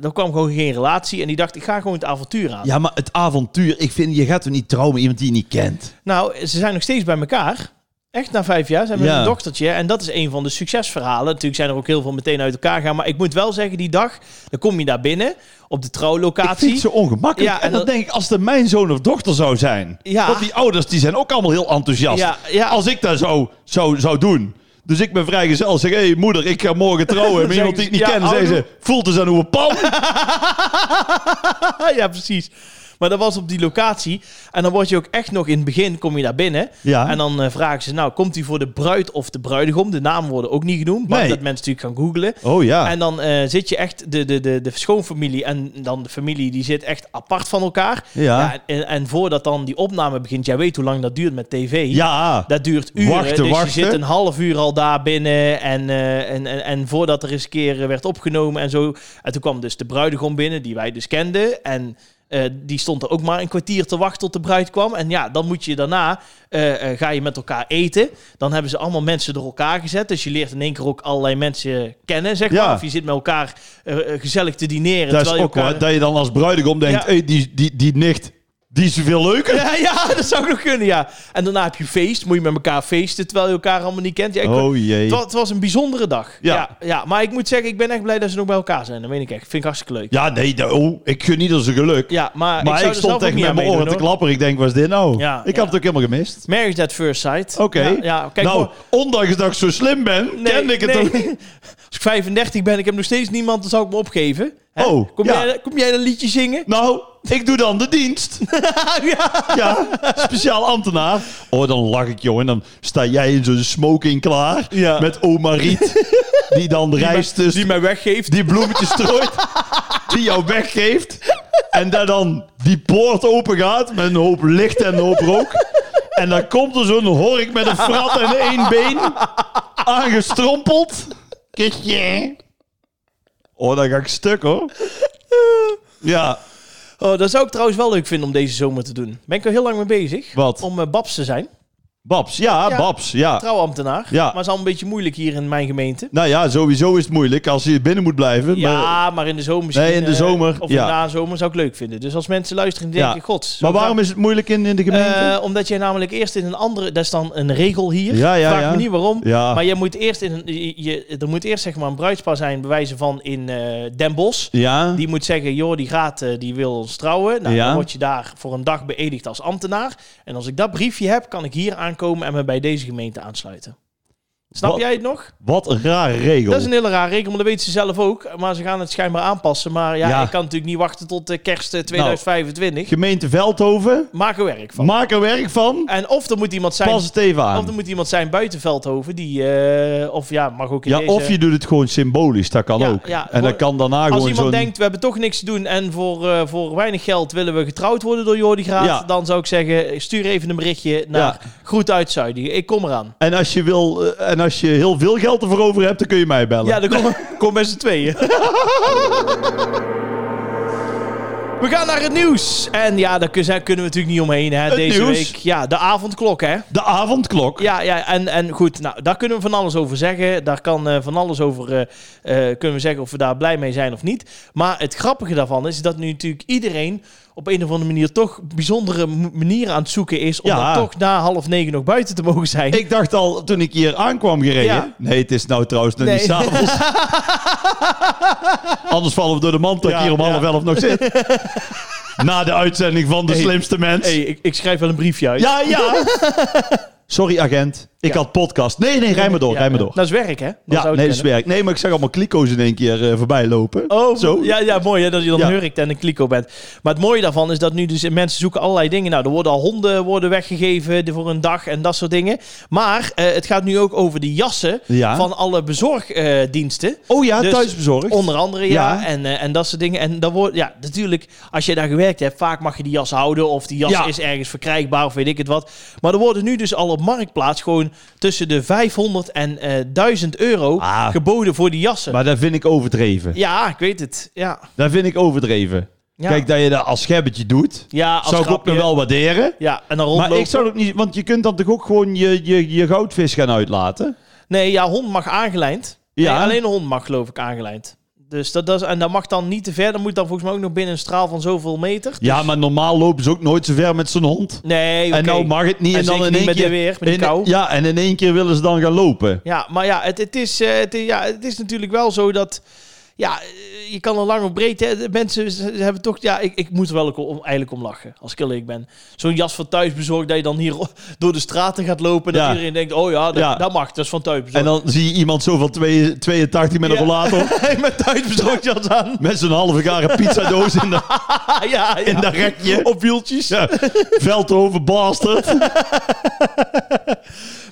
Speaker 1: d- er kwam gewoon geen relatie. En die dacht, ik ga gewoon het avontuur aan.
Speaker 2: Ja, maar het avontuur. Ik vind, je gaat er niet trouwen met iemand die je niet kent.
Speaker 1: Nou, ze zijn nog steeds bij elkaar. Echt na vijf jaar. Ze hebben
Speaker 2: Ja.
Speaker 1: een dochtertje. En dat is een van de succesverhalen. Natuurlijk zijn er ook heel veel meteen uit elkaar gaan. Maar ik moet wel zeggen, die dag, dan kom je daar binnen op de
Speaker 2: Ik vind het
Speaker 1: trouwlocatie.
Speaker 2: zo ongemakkelijk.
Speaker 1: Ja, en
Speaker 2: en dan
Speaker 1: dat-
Speaker 2: denk ik, als dat mijn zoon of dochter zou zijn.
Speaker 1: Ja.
Speaker 2: [laughs] Want die ouders die zijn ook allemaal heel enthousiast.
Speaker 1: Ja, [laughs] ja.
Speaker 2: Als ik dat zou, zou, zou doen, Dus ik ben vrijgezel. Zeg, hé hey, moeder, ik ga
Speaker 1: [laughs]
Speaker 2: morgen trouwen. Met
Speaker 1: Zeg
Speaker 2: iemand die ik niet
Speaker 1: ze, ja,
Speaker 2: ken. Zei
Speaker 1: oudoe.
Speaker 2: ze, voelt dus aan hoe
Speaker 1: [laughs]
Speaker 2: een pan.
Speaker 1: ja, precies. Maar dat was op die locatie. En dan word je ook echt nog in het begin, kom je daar binnen.
Speaker 2: Ja.
Speaker 1: En dan eh, vragen ze, nou, komt hij voor de bruid of de bruidegom? De naam worden ook niet genoemd, maar
Speaker 2: Nee.
Speaker 1: dat mensen natuurlijk gaan googlen.
Speaker 2: Oh ja.
Speaker 1: En dan eh, zit je echt, de, de, de, de schoonfamilie en dan de familie, die zit echt apart van elkaar.
Speaker 2: Ja.
Speaker 1: en, en voordat dan die opname begint, jij weet hoe lang dat duurt met tv.
Speaker 2: ja.
Speaker 1: Dat duurt uren,
Speaker 2: Wachten,
Speaker 1: dus
Speaker 2: wachten.
Speaker 1: je zit een half uur al daar binnen. En, eh, en, en, en voordat er eens een keer eh, werd opgenomen en zo. En toen kwam dus de bruidegom binnen, die wij dus kenden. En eh, die stond er ook maar een kwartier te wachten tot de bruid kwam. En ja, dan moet je daarna, eh, eh, ga je met elkaar eten. Dan hebben ze allemaal mensen door elkaar gezet. Dus je leert in één keer ook allerlei mensen kennen, zeg
Speaker 2: Ja.
Speaker 1: maar. Of je zit met elkaar eh, eh, gezellig te dineren.
Speaker 2: Dat is
Speaker 1: terwijl
Speaker 2: ook
Speaker 1: je elkaar...
Speaker 2: waar, dat je dan als bruidegom denkt,
Speaker 1: Ja.
Speaker 2: hey, die, die, die nicht, die is veel leuker.
Speaker 1: [laughs] Ja, ja, dat zou nog kunnen, ja. En daarna heb je feest. Moet je met elkaar feesten terwijl je elkaar allemaal niet kent. Ja, ik-
Speaker 2: Oh jee.
Speaker 1: Het wa- het was een bijzondere dag.
Speaker 2: Ja.
Speaker 1: Ja. Ja, maar ik moet zeggen, ik ben echt blij dat ze nog bij elkaar zijn. Dat meen ik echt. Vind ik hartstikke leuk. Ja,
Speaker 2: Ja, nee, dat- oh, ik gun niet als een geluk.
Speaker 1: maar,
Speaker 2: maar
Speaker 1: ik,
Speaker 2: ik,
Speaker 1: zou er
Speaker 2: stond
Speaker 1: zelf ook
Speaker 2: echt
Speaker 1: niet
Speaker 2: met
Speaker 1: aan
Speaker 2: mijn
Speaker 1: meedoen,
Speaker 2: oren te
Speaker 1: hoor.
Speaker 2: klappen. Ik denk, wat is dit nou?
Speaker 1: Ja,
Speaker 2: ik
Speaker 1: ja.
Speaker 2: had het ook helemaal gemist.
Speaker 1: Marriage at first sight.
Speaker 2: Oké.
Speaker 1: Ja, ja, kijk,
Speaker 2: nou,
Speaker 1: hoor,
Speaker 2: ondanks dat ik zo slim ben,
Speaker 1: nee,
Speaker 2: ken ik het
Speaker 1: nee.
Speaker 2: ook niet.
Speaker 1: [laughs] Als ik 35 ben, ik heb nog steeds niemand, dan zou ik me opgeven. Hè?
Speaker 2: Oh,
Speaker 1: kom,
Speaker 2: ja.
Speaker 1: jij, kom jij een liedje zingen?
Speaker 2: Nou, ik doe dan de
Speaker 1: [laughs]
Speaker 2: dienst. ja, speciaal ambtenaar. Oh, dan lach ik, jongen. Dan sta jij in zo'n smoking klaar.
Speaker 1: Ja.
Speaker 2: Met oma
Speaker 1: [laughs]
Speaker 2: Riet. Die dan rijst dus
Speaker 1: Die mij weggeeft.
Speaker 2: die bloemetjes strooit, die jou weggeeft. En daar dan die poort open gaat met een hoop licht en een hoop rook. En dan komt er zo'n hork met een frat en één been aangestrompeld. Kusje. Oh, dan ga ik stuk hoor. Ja,
Speaker 1: Oh, dat zou ik trouwens wel leuk vinden om deze zomer te doen. Ben ik al heel lang mee bezig.
Speaker 2: Wat?
Speaker 1: Om eh, babs te zijn.
Speaker 2: Babs. Ja,
Speaker 1: Ja.
Speaker 2: Babs. Ja.
Speaker 1: Trouwambtenaar.
Speaker 2: Ja.
Speaker 1: Maar het is al een beetje moeilijk hier in mijn gemeente.
Speaker 2: Nou ja, sowieso is het moeilijk als je binnen moet blijven. maar,
Speaker 1: Ja, maar in de zomer misschien.
Speaker 2: Nee, in de
Speaker 1: eh,
Speaker 2: zomer,
Speaker 1: Of
Speaker 2: ja.
Speaker 1: in de zomer zou ik leuk vinden. Dus als mensen luisteren,
Speaker 2: Ja.
Speaker 1: denken, ik gods.
Speaker 2: maar waarom is het moeilijk in, in de gemeente?
Speaker 1: Eh, omdat jij namelijk eerst in een andere... Dat is dan een regel hier.
Speaker 2: Ja, ja,
Speaker 1: Vraag
Speaker 2: ja.
Speaker 1: me niet waarom.
Speaker 2: Ja.
Speaker 1: Maar je moet eerst, in een, je, je- er moet eerst zeg maar een bruidspaar zijn, bewijzen van in eh Den Bosch.
Speaker 2: ja.
Speaker 1: Die moet zeggen, joh, die gaat, eh, die wil ons trouwen. Nou,
Speaker 2: Ja.
Speaker 1: Dan word je daar voor een dag beëdigd als ambtenaar. En als ik dat briefje heb, kan ik hier aankomen en me bij deze gemeente aansluiten. Snap
Speaker 2: Wat-
Speaker 1: jij het nog?
Speaker 2: Wat een rare regel.
Speaker 1: Dat is een hele rare regel, maar dat weten ze zelf ook. Maar ze gaan het schijnbaar aanpassen. Maar ja,
Speaker 2: Ja. Nou.
Speaker 1: ik kan natuurlijk niet wachten tot eh, kerst eh, 2025.
Speaker 2: Gemeente Veldhoven.
Speaker 1: Maak er werk van.
Speaker 2: Maak er werk van.
Speaker 1: en of er moet iemand zijn...
Speaker 2: Pas het even
Speaker 1: Of er
Speaker 2: aan.
Speaker 1: moet iemand zijn buiten Veldhoven die... eh, of ja, mag ook in
Speaker 2: Ja,
Speaker 1: deze...
Speaker 2: of je doet het gewoon symbolisch. Dat kan
Speaker 1: Ja,
Speaker 2: ook.
Speaker 1: ja,
Speaker 2: en dat
Speaker 1: gewoon-
Speaker 2: kan daarna
Speaker 1: Als
Speaker 2: gewoon zo'n...
Speaker 1: iemand denkt, we hebben toch niks te doen en voor, eh, voor weinig geld willen we getrouwd worden door Jordi Graat,
Speaker 2: Ja.
Speaker 1: dan zou ik zeggen, stuur even een berichtje naar Groet uit Zuidie. Ik kom eraan.
Speaker 2: En als je wil... eh, En als je heel veel geld ervoor over hebt, dan kun je mij bellen.
Speaker 1: Ja, dus- dan kom, kom met z'n
Speaker 2: [laughs]
Speaker 1: tweeën. We gaan naar het nieuws. En ja, daar kun- zijn- kunnen we natuurlijk niet omheen hè,
Speaker 2: Het
Speaker 1: deze
Speaker 2: nieuws.
Speaker 1: week. Ja, de avondklok hè.
Speaker 2: De avondklok.
Speaker 1: Ja, ja en, en goed, nou, daar kunnen we van alles over zeggen. Daar kan eh, van alles over eh, eh, kunnen we zeggen of we daar blij mee zijn of niet. Maar het grappige daarvan is dat nu natuurlijk iedereen op een of andere manier toch bijzondere m- manieren aan het zoeken is om
Speaker 2: Ja.
Speaker 1: dan toch na half negen nog buiten te mogen zijn.
Speaker 2: Ik dacht al, toen ik hier aankwam gereden...
Speaker 1: Ja.
Speaker 2: Nee, het is nou trouwens nog
Speaker 1: Nee.
Speaker 2: niet
Speaker 1: [laughs]
Speaker 2: s'avonds. Anders vallen we door de mand dat ik
Speaker 1: Ja,
Speaker 2: hier om
Speaker 1: ja.
Speaker 2: half elf nog
Speaker 1: [laughs]
Speaker 2: zit. Na de uitzending van De
Speaker 1: Hey.
Speaker 2: Slimste Mens.
Speaker 1: hey, ik, ik schrijf wel een briefje uit.
Speaker 2: Ja,
Speaker 1: [laughs]
Speaker 2: ja. Sorry, agent. Ik
Speaker 1: Ja.
Speaker 2: had podcast. Nee, nee, rij maar door,
Speaker 1: Ja,
Speaker 2: rij maar
Speaker 1: ja.
Speaker 2: door.
Speaker 1: Dat is werk, hè? Dat zou
Speaker 2: ja,
Speaker 1: het
Speaker 2: nee, dat is
Speaker 1: kunnen.
Speaker 2: werk. Nee, maar ik zag allemaal kliko's in één keer eh, voorbij lopen.
Speaker 1: Oh,
Speaker 2: Zo.
Speaker 1: Ja, ja, mooi hè, dat je dan
Speaker 2: Ja.
Speaker 1: hurkt en een kliko bent. Maar het mooie daarvan is dat nu dus mensen zoeken allerlei dingen. Nou, er worden al honden worden weggegeven eh, voor een dag en dat soort dingen. Maar eh, het gaat nu ook over de jassen
Speaker 2: Ja.
Speaker 1: van alle bezorgdiensten.
Speaker 2: Oh ja,
Speaker 1: Dus
Speaker 2: thuisbezorgd.
Speaker 1: Onder andere, ja.
Speaker 2: Ja.
Speaker 1: En, eh, en dat soort dingen. En dan wordt, ja, natuurlijk, als je daar gewerkt hebt, vaak mag je die jas houden. Of die jas
Speaker 2: Ja.
Speaker 1: is ergens verkrijgbaar, of weet ik het wat. Maar er worden nu dus al op marktplaats gewoon tussen de 500 en eh, 1000 euro
Speaker 2: Ah.
Speaker 1: geboden voor die jassen.
Speaker 2: Maar dat vind ik overdreven.
Speaker 1: Ja, ik weet het. Ja.
Speaker 2: Dat vind ik overdreven.
Speaker 1: Ja.
Speaker 2: Kijk, dat je dat als schebbetje doet,
Speaker 1: Ja, als
Speaker 2: zou ik ook
Speaker 1: grapje.
Speaker 2: nog wel waarderen.
Speaker 1: Ja, en dan
Speaker 2: Maar
Speaker 1: rondlopen.
Speaker 2: ik zou het ook niet... Want je kunt dan toch ook gewoon je, je, je goudvis gaan uitlaten?
Speaker 1: Nee, ja, hond mag aangelijnd. Nee,
Speaker 2: Ja.
Speaker 1: alleen een hond mag, geloof ik, aangelijnd. Dus dat, dat is, en dat mag dan niet te ver. Dan moet dan volgens mij ook nog binnen een straal van zoveel meter. Dus-
Speaker 2: Ja, maar normaal lopen ze ook nooit zo ver met zo'n hond.
Speaker 1: Nee, oké.
Speaker 2: En nou mag het niet.
Speaker 1: En
Speaker 2: En, dan
Speaker 1: zeker
Speaker 2: in
Speaker 1: niet
Speaker 2: één
Speaker 1: met
Speaker 2: keer...
Speaker 1: de weer, met die
Speaker 2: in-
Speaker 1: kou.
Speaker 2: Ja, en in één keer willen ze dan gaan lopen.
Speaker 1: Ja, maar ja, het, het, is, eh, het, is- ja, het is natuurlijk wel zo dat... ja, eh, je kan er lang op breed. Hè. De Mensen ze- ze hebben toch... Ja, ik, ik moet er wel ook om, eigenlijk om lachen, als ik eerlijk ben. Zo'n jas van thuis bezorgd, dat je dan hier [laughs] door de straten gaat lopen... en
Speaker 2: Ja.
Speaker 1: dat iedereen denkt, oh ja, dat,
Speaker 2: Ja.
Speaker 1: dat mag, dat is van thuis bezorgd.
Speaker 2: En dan zie je iemand zo van twee- 82 met een
Speaker 1: Ja.
Speaker 2: rollator.
Speaker 1: [laughs] met thuis bezorgd jas aan.
Speaker 2: Met zo'n halve gare pizzadoos in dat,
Speaker 1: [laughs] Ah, ja, ja.
Speaker 2: in dat rekje.
Speaker 1: Op wieltjes.
Speaker 2: Ja, Veldhoven bastard.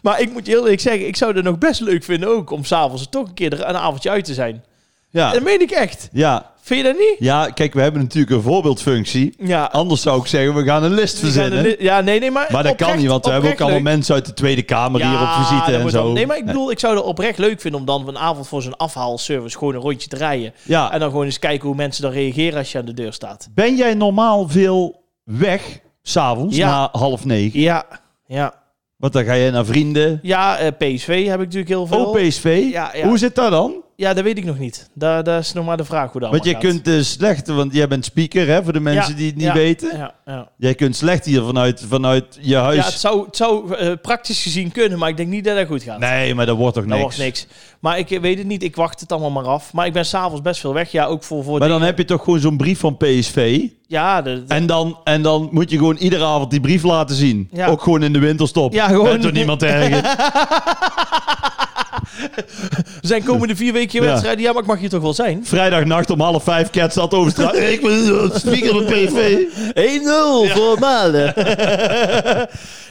Speaker 1: Maar ik moet je heel eerlijk zeggen, ik zou het nog best leuk vinden ook... om s'avonds toch een keer er een avondje uit te zijn.
Speaker 2: Ja,
Speaker 1: Dat meen ik echt.
Speaker 2: ja.
Speaker 1: Vind je dat niet?
Speaker 2: ja, kijk, we hebben natuurlijk een voorbeeldfunctie.
Speaker 1: Ja,
Speaker 2: Anders zou ik zeggen, we gaan een list
Speaker 1: Die zijn
Speaker 2: verzinnen.
Speaker 1: er li- ja, nee, nee, maar.
Speaker 2: Maar dat kan
Speaker 1: oprecht-
Speaker 2: niet, want we hebben ook
Speaker 1: oprecht
Speaker 2: allemaal
Speaker 1: leuk.
Speaker 2: mensen uit de Tweede Kamer hier
Speaker 1: Ja,
Speaker 2: op visite
Speaker 1: dat
Speaker 2: en
Speaker 1: moet
Speaker 2: zo.
Speaker 1: dan- Nee, maar ik bedoel, ik zou het oprecht leuk vinden om dan vanavond voor zo'n afhaalservice gewoon een rondje te rijden.
Speaker 2: Ja.
Speaker 1: En dan gewoon eens kijken hoe mensen dan reageren als je aan de deur staat.
Speaker 2: Ben jij normaal veel weg, s'avonds,
Speaker 1: Ja.
Speaker 2: na half negen?
Speaker 1: Ja, ja.
Speaker 2: Want dan ga je naar vrienden.
Speaker 1: Ja, eh, PSV heb ik natuurlijk heel
Speaker 2: Oh,
Speaker 1: veel.
Speaker 2: OPSV,
Speaker 1: Ja, ja.
Speaker 2: hoe zit dat dan?
Speaker 1: Ja, dat weet ik nog niet. Daar, daar is nog maar de vraag hoe Oh, dat
Speaker 2: Want jij
Speaker 1: allemaal gaat.
Speaker 2: kunt eh, slecht, want jij bent speaker hè, voor de mensen
Speaker 1: Ja,
Speaker 2: die het niet
Speaker 1: ja,
Speaker 2: weten.
Speaker 1: Ja, ja.
Speaker 2: Jij kunt slecht hier vanuit, vanuit je
Speaker 1: ja
Speaker 2: huis.
Speaker 1: het zou, het zou eh, praktisch gezien kunnen, maar ik denk niet dat dat goed gaat.
Speaker 2: nee, maar dat wordt toch
Speaker 1: dat
Speaker 2: niks?
Speaker 1: wordt Nou, niks. Maar ik eh, weet het niet. Ik wacht het allemaal maar af. Maar ik ben s'avonds best veel weg. Ja, ook voor... voor
Speaker 2: Maar
Speaker 1: dingen.
Speaker 2: dan heb je toch gewoon zo'n brief van PSV.
Speaker 1: ja, de, de-
Speaker 2: En dan, en dan moet je gewoon iedere avond die brief laten zien.
Speaker 1: Ja.
Speaker 2: Ook gewoon in de winterstop.
Speaker 1: Ja, gewoon-
Speaker 2: Bent er
Speaker 1: [laughs]
Speaker 2: niemand erger.
Speaker 1: Er zijn komende vier weken
Speaker 2: Ja.
Speaker 1: wedstrijden. Ja, maar ik mag hier toch wel [laughs] zijn? 1-0
Speaker 2: Vrijdagnacht om half vijf, Cat staat over straat. Ik ben eh, speaker van PSV.
Speaker 1: voor [laughs] Malen.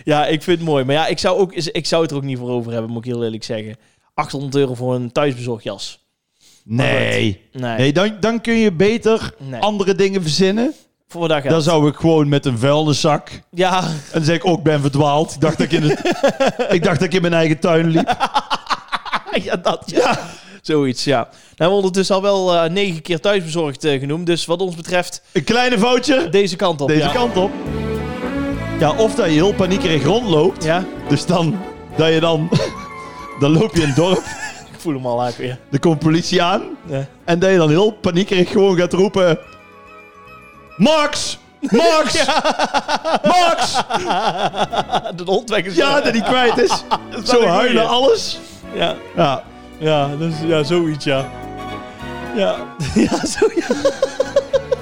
Speaker 1: ja, ik vind het mooi. Maar ja, ik zou, ook, ik zou het er ook niet voor over hebben, moet ik heel eerlijk zeggen. 800 euro voor een thuisbezorgd jas.
Speaker 2: Nee.
Speaker 1: Nee,
Speaker 2: Nee, dan, dan kun je beter
Speaker 1: Nee.
Speaker 2: andere dingen verzinnen.
Speaker 1: voor dat
Speaker 2: Dan
Speaker 1: geld.
Speaker 2: zou ik gewoon met een vuilniszak. En
Speaker 1: Ja, [laughs]
Speaker 2: dan zeg ik ook, ik ben verdwaald. Ik dacht dat ik in, het, ik dacht dat ik in mijn eigen tuin liep.
Speaker 1: ja, dat ja. Zoiets, ja. Nou, we hebben ondertussen al wel eh, negen keer thuisbezorgd eh, genoemd. Dus wat ons betreft,
Speaker 2: Een kleine foutje.
Speaker 1: deze kant op.
Speaker 2: Deze
Speaker 1: ja.
Speaker 2: kant op. Ja, of dat je heel paniekerig rondloopt.
Speaker 1: Ja,
Speaker 2: Dus dan, dat je dan, [laughs] dan loop je in het dorp.
Speaker 1: ik voel hem al eigenlijk
Speaker 2: Er komt politie aan.
Speaker 1: weer. Ja.
Speaker 2: En dat je dan heel paniekerig gewoon gaat roepen... Max! Max!
Speaker 1: [laughs]
Speaker 2: Max!
Speaker 1: Ah, De hond weg is
Speaker 2: Ja, dat die kwijt
Speaker 1: [laughs]
Speaker 2: is.
Speaker 1: een
Speaker 2: Zo
Speaker 1: goeie.
Speaker 2: huilen, alles.
Speaker 1: ja.
Speaker 2: Ja.
Speaker 1: Ja, dus, ja, zoiets, ja.
Speaker 2: [laughs]
Speaker 1: Ja, ja, zo, ja.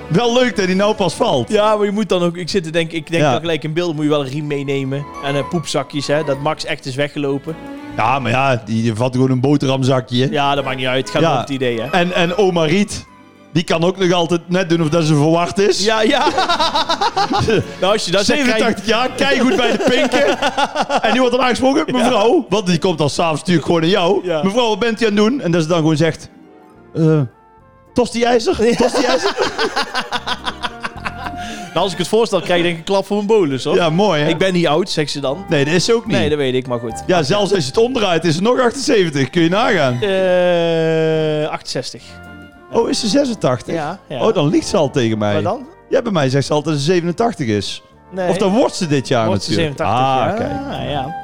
Speaker 2: Wel leuk dat hij nou pas valt.
Speaker 1: Ja, maar je moet dan ook... Ik zit te denken, ik denk
Speaker 2: Ja.
Speaker 1: dan gelijk in beelden moet je wel een riem meenemen. En eh, poepzakjes, hè. Dat Max echt is weggelopen.
Speaker 2: Ja, maar ja, die, die vat gewoon een boterhamzakje.
Speaker 1: Ja, dat maakt niet uit. Het gaat
Speaker 2: Ja.
Speaker 1: om het idee,
Speaker 2: [laughs]
Speaker 1: hè.
Speaker 2: En, en oma Riet, die kan ook nog altijd net doen of dat ze verwacht is.
Speaker 1: Ja,
Speaker 2: [laughs]
Speaker 1: ja. nou, als je dat zegt, krijg je-
Speaker 2: 87 jaar, kijk goed bij de [laughs] pinken. en die wordt dan aangesproken, mevrouw. Want die komt dan s'avonds natuurlijk gewoon naar jou.
Speaker 1: Ja.
Speaker 2: Mevrouw, wat bent u aan het doen? En dat ze dan gewoon zegt... eh Tosti-ijzer? Tosti-ijzer?
Speaker 1: nou, als ik het voorstel, krijg je denk ik een klap voor mijn bolus, hoor.
Speaker 2: Ja, mooi hè?
Speaker 1: Ik ben niet oud, zegt ze dan.
Speaker 2: Nee, dat is ze ook niet.
Speaker 1: Nee, dat weet ik, maar goed.
Speaker 2: Ja, zelfs als je het omdraait is het nog 78. Kun je nagaan.
Speaker 1: Eh 68.
Speaker 2: Oh, is ze 86?
Speaker 1: Ja, ja.
Speaker 2: Oh, dan ligt ze al tegen mij.
Speaker 1: Maar dan?
Speaker 2: Ja, bij mij zegt ze altijd dat ze 87 is.
Speaker 1: Nee.
Speaker 2: Of dan wordt ze dit jaar
Speaker 1: Wordt ze
Speaker 2: natuurlijk.
Speaker 1: 87,
Speaker 2: ah,
Speaker 1: ja.
Speaker 2: kijk.
Speaker 1: Ah, ja.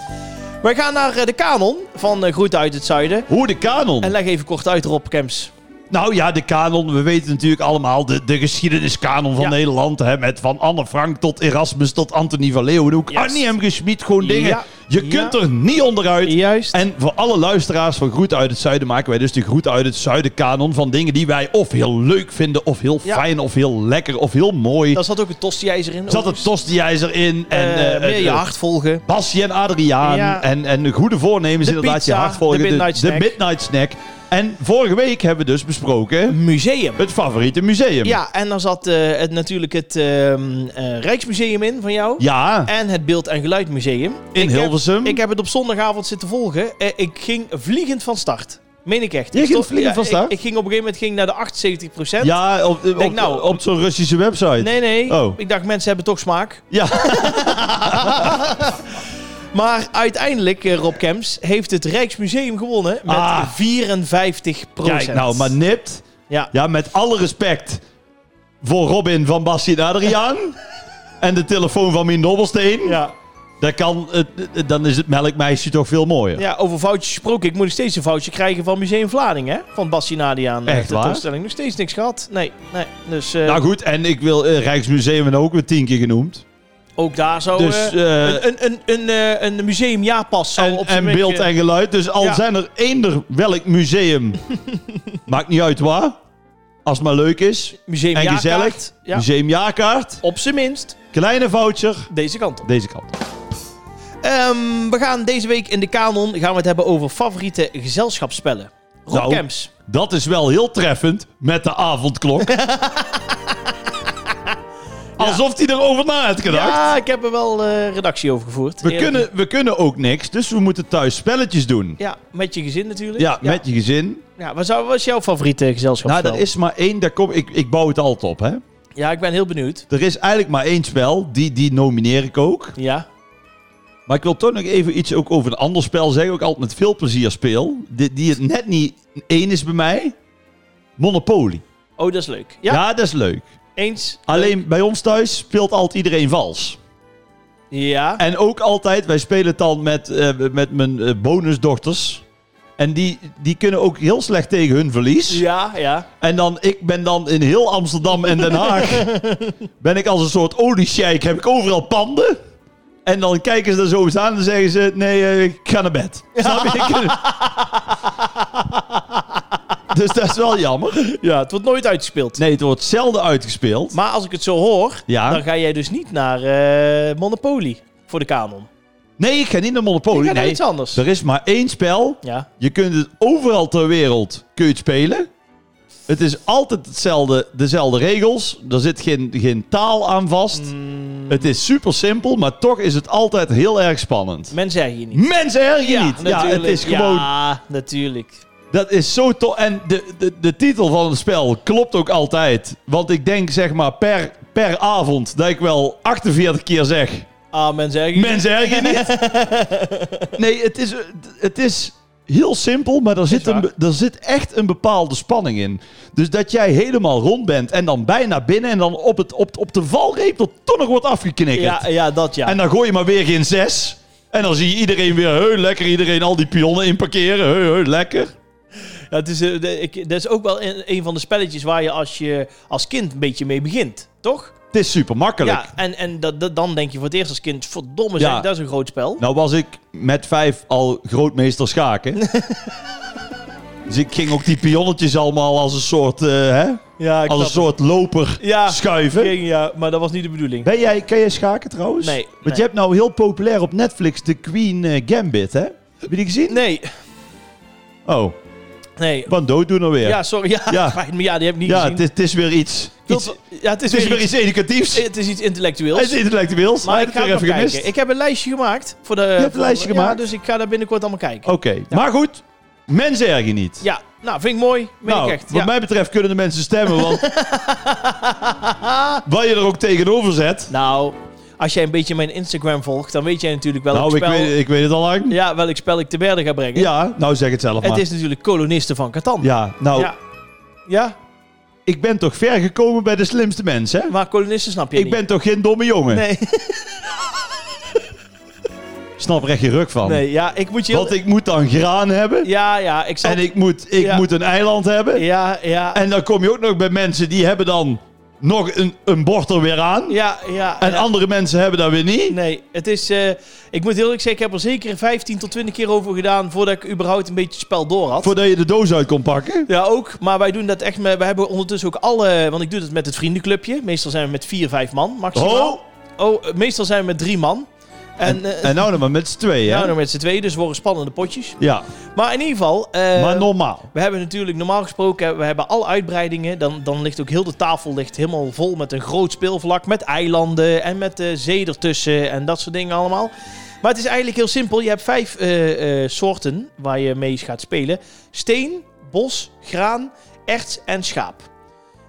Speaker 1: Wij gaan naar eh, de kanon van eh Groeten uit het Zuiden.
Speaker 2: Hoe de kanon?
Speaker 1: En leg even kort uit, Rob Kemps.
Speaker 2: Nou ja, de kanon. We weten natuurlijk allemaal de, de geschiedeniskanon van
Speaker 1: Ja.
Speaker 2: Nederland. Hè, met van Anne Frank tot Erasmus tot Anthony van Leeuwenhoek.
Speaker 1: Yes.
Speaker 2: Annie M. Gesmied, gewoon dingen.
Speaker 1: Ja.
Speaker 2: Je
Speaker 1: Ja.
Speaker 2: kunt er niet onderuit.
Speaker 1: Juist.
Speaker 2: En voor alle luisteraars van Groet uit het Zuiden maken wij dus de Groet uit het Zuiden kanon van dingen die wij of heel leuk vinden, of heel
Speaker 1: Ja.
Speaker 2: fijn, of heel lekker, of heel mooi.
Speaker 1: Daar zat ook een tostiijzer in.
Speaker 2: Zat het Tostiijzer in en
Speaker 1: en,
Speaker 2: eh,
Speaker 1: meer
Speaker 2: eh,
Speaker 1: je hart volgen.
Speaker 2: Basje en Adriaan
Speaker 1: Ja.
Speaker 2: en, en de goede voornemens
Speaker 1: De
Speaker 2: inderdaad
Speaker 1: pizza,
Speaker 2: je hart volgen.
Speaker 1: de midnight snack.
Speaker 2: midnight snack. En vorige week hebben we dus besproken
Speaker 1: Museum.
Speaker 2: het favoriete museum.
Speaker 1: Ja, en daar zat eh, het, natuurlijk het ehm, eh, Rijksmuseum in van jou.
Speaker 2: Ja,
Speaker 1: En het Beeld- en Geluidmuseum.
Speaker 2: in
Speaker 1: ik
Speaker 2: Hilversum.
Speaker 1: Heb, ik heb het op zondagavond zitten volgen. Eh, ik ging vliegend van start. Meen ik echt. Ik
Speaker 2: Je ging
Speaker 1: stond-
Speaker 2: vliegend van
Speaker 1: ik-
Speaker 2: start?
Speaker 1: Ik, ging op een gegeven moment ging naar de 78
Speaker 2: ja, op, op,
Speaker 1: Denk nou,
Speaker 2: op, zo'n Russische website.
Speaker 1: Nee, nee.
Speaker 2: Oh.
Speaker 1: Ik dacht, mensen hebben toch smaak. [laughs]
Speaker 2: Ja,
Speaker 1: Maar uiteindelijk, eh, Rob Kemps, heeft het Rijksmuseum gewonnen met
Speaker 2: Ah.
Speaker 1: 54 procent.
Speaker 2: kijk nou, maar nipt.
Speaker 1: Ja.
Speaker 2: Ja, met alle respect voor Robin van Basje en Adriaan.
Speaker 1: [laughs]
Speaker 2: en de telefoon van Mien Dobbelsteen.
Speaker 1: Ja.
Speaker 2: Dan, kan het, het- dan is het melkmeisje toch veel mooier.
Speaker 1: ja, over foutjes gesproken. Ik moet nog steeds een foutje krijgen van Museum Vlaardingen, hè? Van Bassinadiaan.
Speaker 2: Echt waar?
Speaker 1: eh, Tentoonstelling. Nog steeds niks gehad. Nee, nee. Dus eh,
Speaker 2: Nou goed, en ik wil eh, Rijksmuseum en ook weer tien keer genoemd.
Speaker 1: ook daar zou
Speaker 2: Dus,
Speaker 1: eh,
Speaker 2: eh,
Speaker 1: een, een, een, eh, een museumjaarpas zou
Speaker 2: En,
Speaker 1: op zijn
Speaker 2: en
Speaker 1: minst,
Speaker 2: beeld
Speaker 1: eh,
Speaker 2: en geluid. Dus al
Speaker 1: Ja. [laughs]
Speaker 2: zijn er eender welk museum, maakt niet uit waar, Als het maar leuk is.
Speaker 1: Museum
Speaker 2: En
Speaker 1: Jaarkaart.
Speaker 2: gezellig.
Speaker 1: Ja.
Speaker 2: Museumjaarkaart.
Speaker 1: Op zijn minst
Speaker 2: Kleine voucher.
Speaker 1: deze kant op.
Speaker 2: Deze kant.
Speaker 1: Ehm, we gaan deze week in de kanon gaan we het hebben over favoriete gezelschapsspellen. Rob
Speaker 2: Nou.
Speaker 1: Camps.
Speaker 2: Dat is wel heel treffend met de
Speaker 1: [laughs]
Speaker 2: avondklok. Alsof hij erover na had gedacht.
Speaker 1: Ja, ik heb er wel eh, redactie over gevoerd.
Speaker 2: We
Speaker 1: Eerlijk.
Speaker 2: kunnen, we kunnen ook niks, dus we moeten thuis spelletjes doen.
Speaker 1: Ja, met je gezin natuurlijk.
Speaker 2: Ja, met je gezin.
Speaker 1: Ja, wat, zou, wat is jouw favoriete
Speaker 2: Nou,
Speaker 1: gezelschapsspel?
Speaker 2: er is maar één, daar kom, ik, ik bouw het altijd op. Hè.
Speaker 1: Ja, ik ben heel benieuwd.
Speaker 2: Er is eigenlijk maar één spel, die, die nomineer ik ook.
Speaker 1: Ja.
Speaker 2: Maar ik wil toch nog even iets ook over een ander spel zeggen, ook altijd met veel plezier speel. Die, die het net niet één is bij mij. Monopoly.
Speaker 1: Oh, dat is leuk. Ja,
Speaker 2: Ja, dat is leuk.
Speaker 1: eens.
Speaker 2: Alleen bij ons thuis speelt altijd iedereen vals.
Speaker 1: Ja.
Speaker 2: En ook altijd, wij spelen het dan met, eh, met mijn eh, bonusdochters. En die, die kunnen ook heel slecht tegen hun verlies.
Speaker 1: Ja, ja.
Speaker 2: En dan, ik ben dan in heel Amsterdam en Den
Speaker 1: [laughs]
Speaker 2: Haag. ben ik als een soort oliesjeik, heb ik overal panden. En dan kijken ze er zo eens aan en zeggen ze: Nee, eh, ik ga naar bed. Snap
Speaker 1: [laughs]
Speaker 2: je? Ik- dus dat is wel jammer.
Speaker 1: Ja, het wordt nooit uitgespeeld.
Speaker 2: Nee, het wordt zelden uitgespeeld.
Speaker 1: Maar als ik het zo hoor,
Speaker 2: Ja.
Speaker 1: dan ga jij dus niet naar eh, Monopoly voor de kanon.
Speaker 2: Nee, ik ga niet naar Monopoly.
Speaker 1: Ik ga naar
Speaker 2: Oh, nee.
Speaker 1: iets anders.
Speaker 2: Er is maar één spel
Speaker 1: Ja.
Speaker 2: Je kunt het overal ter wereld kun je het spelen. Het is altijd hetzelfde, dezelfde regels. Er zit geen, geen taal aan vast.
Speaker 1: Mm.
Speaker 2: Het is super simpel, maar toch is het altijd heel erg spannend.
Speaker 1: Men zei hier niet.
Speaker 2: Mensen erg je niet. Ja,
Speaker 1: natuurlijk.
Speaker 2: het is gewoon.
Speaker 1: Ja, natuurlijk.
Speaker 2: Dat is zo tof. En de, de, de titel van het spel klopt ook altijd. Want ik denk zeg maar per, per avond dat ik wel 48 keer zeg.
Speaker 1: Ah, men zei hier
Speaker 2: Mensen erg je niet. [laughs] Nee, het is, het is heel simpel, maar er zit,
Speaker 1: waar.
Speaker 2: een, be- er zit echt een bepaalde spanning in. Dus dat jij helemaal rond bent en dan bijna binnen en dan op, het, op, op de valreep er toch nog wordt afgeknikkerd.
Speaker 1: Ja, ja, dat ja.
Speaker 2: En dan gooi je maar weer geen zes. En dan zie je iedereen weer, heu, lekker, iedereen al die pionnen in parkeren. Heu, heu, lekker.
Speaker 1: Ja, het is, eh, de- ik, dat is ook wel een, een van de spelletjes waar je als, je als kind een beetje mee begint, toch?
Speaker 2: Het is super makkelijk.
Speaker 1: Ja, en, en dat, dat, dan denk je voor het eerst als kind, verdomme
Speaker 2: Ja.
Speaker 1: zeg, dat is een groot spel.
Speaker 2: Nou was ik met vijf al grootmeester schaken.
Speaker 1: [laughs]
Speaker 2: dus ik ging ook die pionnetjes allemaal als een soort, eh, hè?
Speaker 1: ja,
Speaker 2: Als een soort loper
Speaker 1: Ja,
Speaker 2: schuiven.
Speaker 1: ging, ja, maar dat was niet de bedoeling.
Speaker 2: Ben jij, ken jij schaken trouwens?
Speaker 1: Nee,
Speaker 2: Want
Speaker 1: nee.
Speaker 2: je hebt nou heel populair op Netflix de Queen eh, Gambit, hè? Heb je die gezien?
Speaker 1: Nee,
Speaker 2: Oh,
Speaker 1: nee.
Speaker 2: van dooddoener weer.
Speaker 1: Ja, sorry. Ja,
Speaker 2: Ja.
Speaker 1: spijt me. ja die heb ik niet
Speaker 2: Ja,
Speaker 1: gezien.
Speaker 2: het is, het is weer iets.
Speaker 1: Ik wil
Speaker 2: iets-
Speaker 1: het wel- ja, het is,
Speaker 2: het is
Speaker 1: weer,
Speaker 2: weer
Speaker 1: iets,
Speaker 2: iets educatiefs.
Speaker 1: het is iets intellectueels.
Speaker 2: Het is intellectueels.
Speaker 1: maar
Speaker 2: Hij
Speaker 1: ik
Speaker 2: had
Speaker 1: ga
Speaker 2: het
Speaker 1: even
Speaker 2: weer
Speaker 1: kijken.
Speaker 2: gemist.
Speaker 1: Ik heb een lijstje gemaakt. Voor de,
Speaker 2: hebt een
Speaker 1: voor-
Speaker 2: lijstje
Speaker 1: ja,
Speaker 2: gemaakt?
Speaker 1: dus ik ga daar binnenkort allemaal kijken.
Speaker 2: Oké, maar goed. Mensen erg je niet.
Speaker 1: Ja, nou, vind ik mooi. Meen
Speaker 2: nou,
Speaker 1: ik echt.
Speaker 2: wat
Speaker 1: Ja.
Speaker 2: mij betreft kunnen de mensen
Speaker 1: [laughs]
Speaker 2: stemmen, want... wat je er ook tegenover zet...
Speaker 1: Nou, als jij een beetje mijn Instagram volgt, dan weet jij natuurlijk welk
Speaker 2: Nou, ik
Speaker 1: spel,
Speaker 2: weet, ik weet het al lang.
Speaker 1: ja, welk spel ik te berden ga brengen.
Speaker 2: Ja, nou zeg het zelf maar.
Speaker 1: Het is natuurlijk kolonisten van Catan.
Speaker 2: Ja, nou,
Speaker 1: ja. Ja,
Speaker 2: ik ben toch ver gekomen bij de slimste mensen, hè?
Speaker 1: maar kolonisten snap je
Speaker 2: Ik
Speaker 1: niet.
Speaker 2: ben toch geen domme jongen?
Speaker 1: Nee, [laughs]
Speaker 2: Snap recht je ruk van.
Speaker 1: nee, ja, ik moet je... heel-
Speaker 2: Want ik moet dan graan hebben.
Speaker 1: Ja, ja, ik zal...
Speaker 2: En ik moet, ik
Speaker 1: Ja.
Speaker 2: moet een eiland hebben.
Speaker 1: Ja, ja,
Speaker 2: En dan kom je ook nog bij mensen die hebben dan nog een, een bord er weer aan.
Speaker 1: ja, ja.
Speaker 2: En
Speaker 1: ja.
Speaker 2: andere mensen hebben dat weer niet.
Speaker 1: Nee, het is... eh, ik moet heel eerlijk zeggen, ik heb er zeker 15 tot 20 keer over gedaan voordat ik überhaupt een beetje het spel door had.
Speaker 2: Voordat je de doos uit kon pakken.
Speaker 1: Ja, ook. Maar wij doen dat echt met... We hebben ondertussen ook alle... Want ik doe dat met het vriendenclubje. Meestal zijn we met 4, 5 man maximaal.
Speaker 2: Oh,
Speaker 1: Oh, eh, meestal zijn we met drie man. En,
Speaker 2: en,
Speaker 1: eh,
Speaker 2: en nou dan maar met z'n tweeën.
Speaker 1: nou
Speaker 2: hè?
Speaker 1: nog met z'n tweeën, dus worden spannende potjes.
Speaker 2: Ja,
Speaker 1: Maar in ieder geval... eh,
Speaker 2: maar normaal.
Speaker 1: we hebben natuurlijk normaal gesproken, we hebben alle uitbreidingen. Dan, dan ligt ook heel de tafel ligt helemaal vol met een groot speelvlak. Met eilanden en met eh zee ertussen en dat soort dingen allemaal. Maar het is eigenlijk heel simpel. Je hebt vijf eh, eh, soorten waar je mee gaat spelen. Steen, bos, graan, erts en schaap.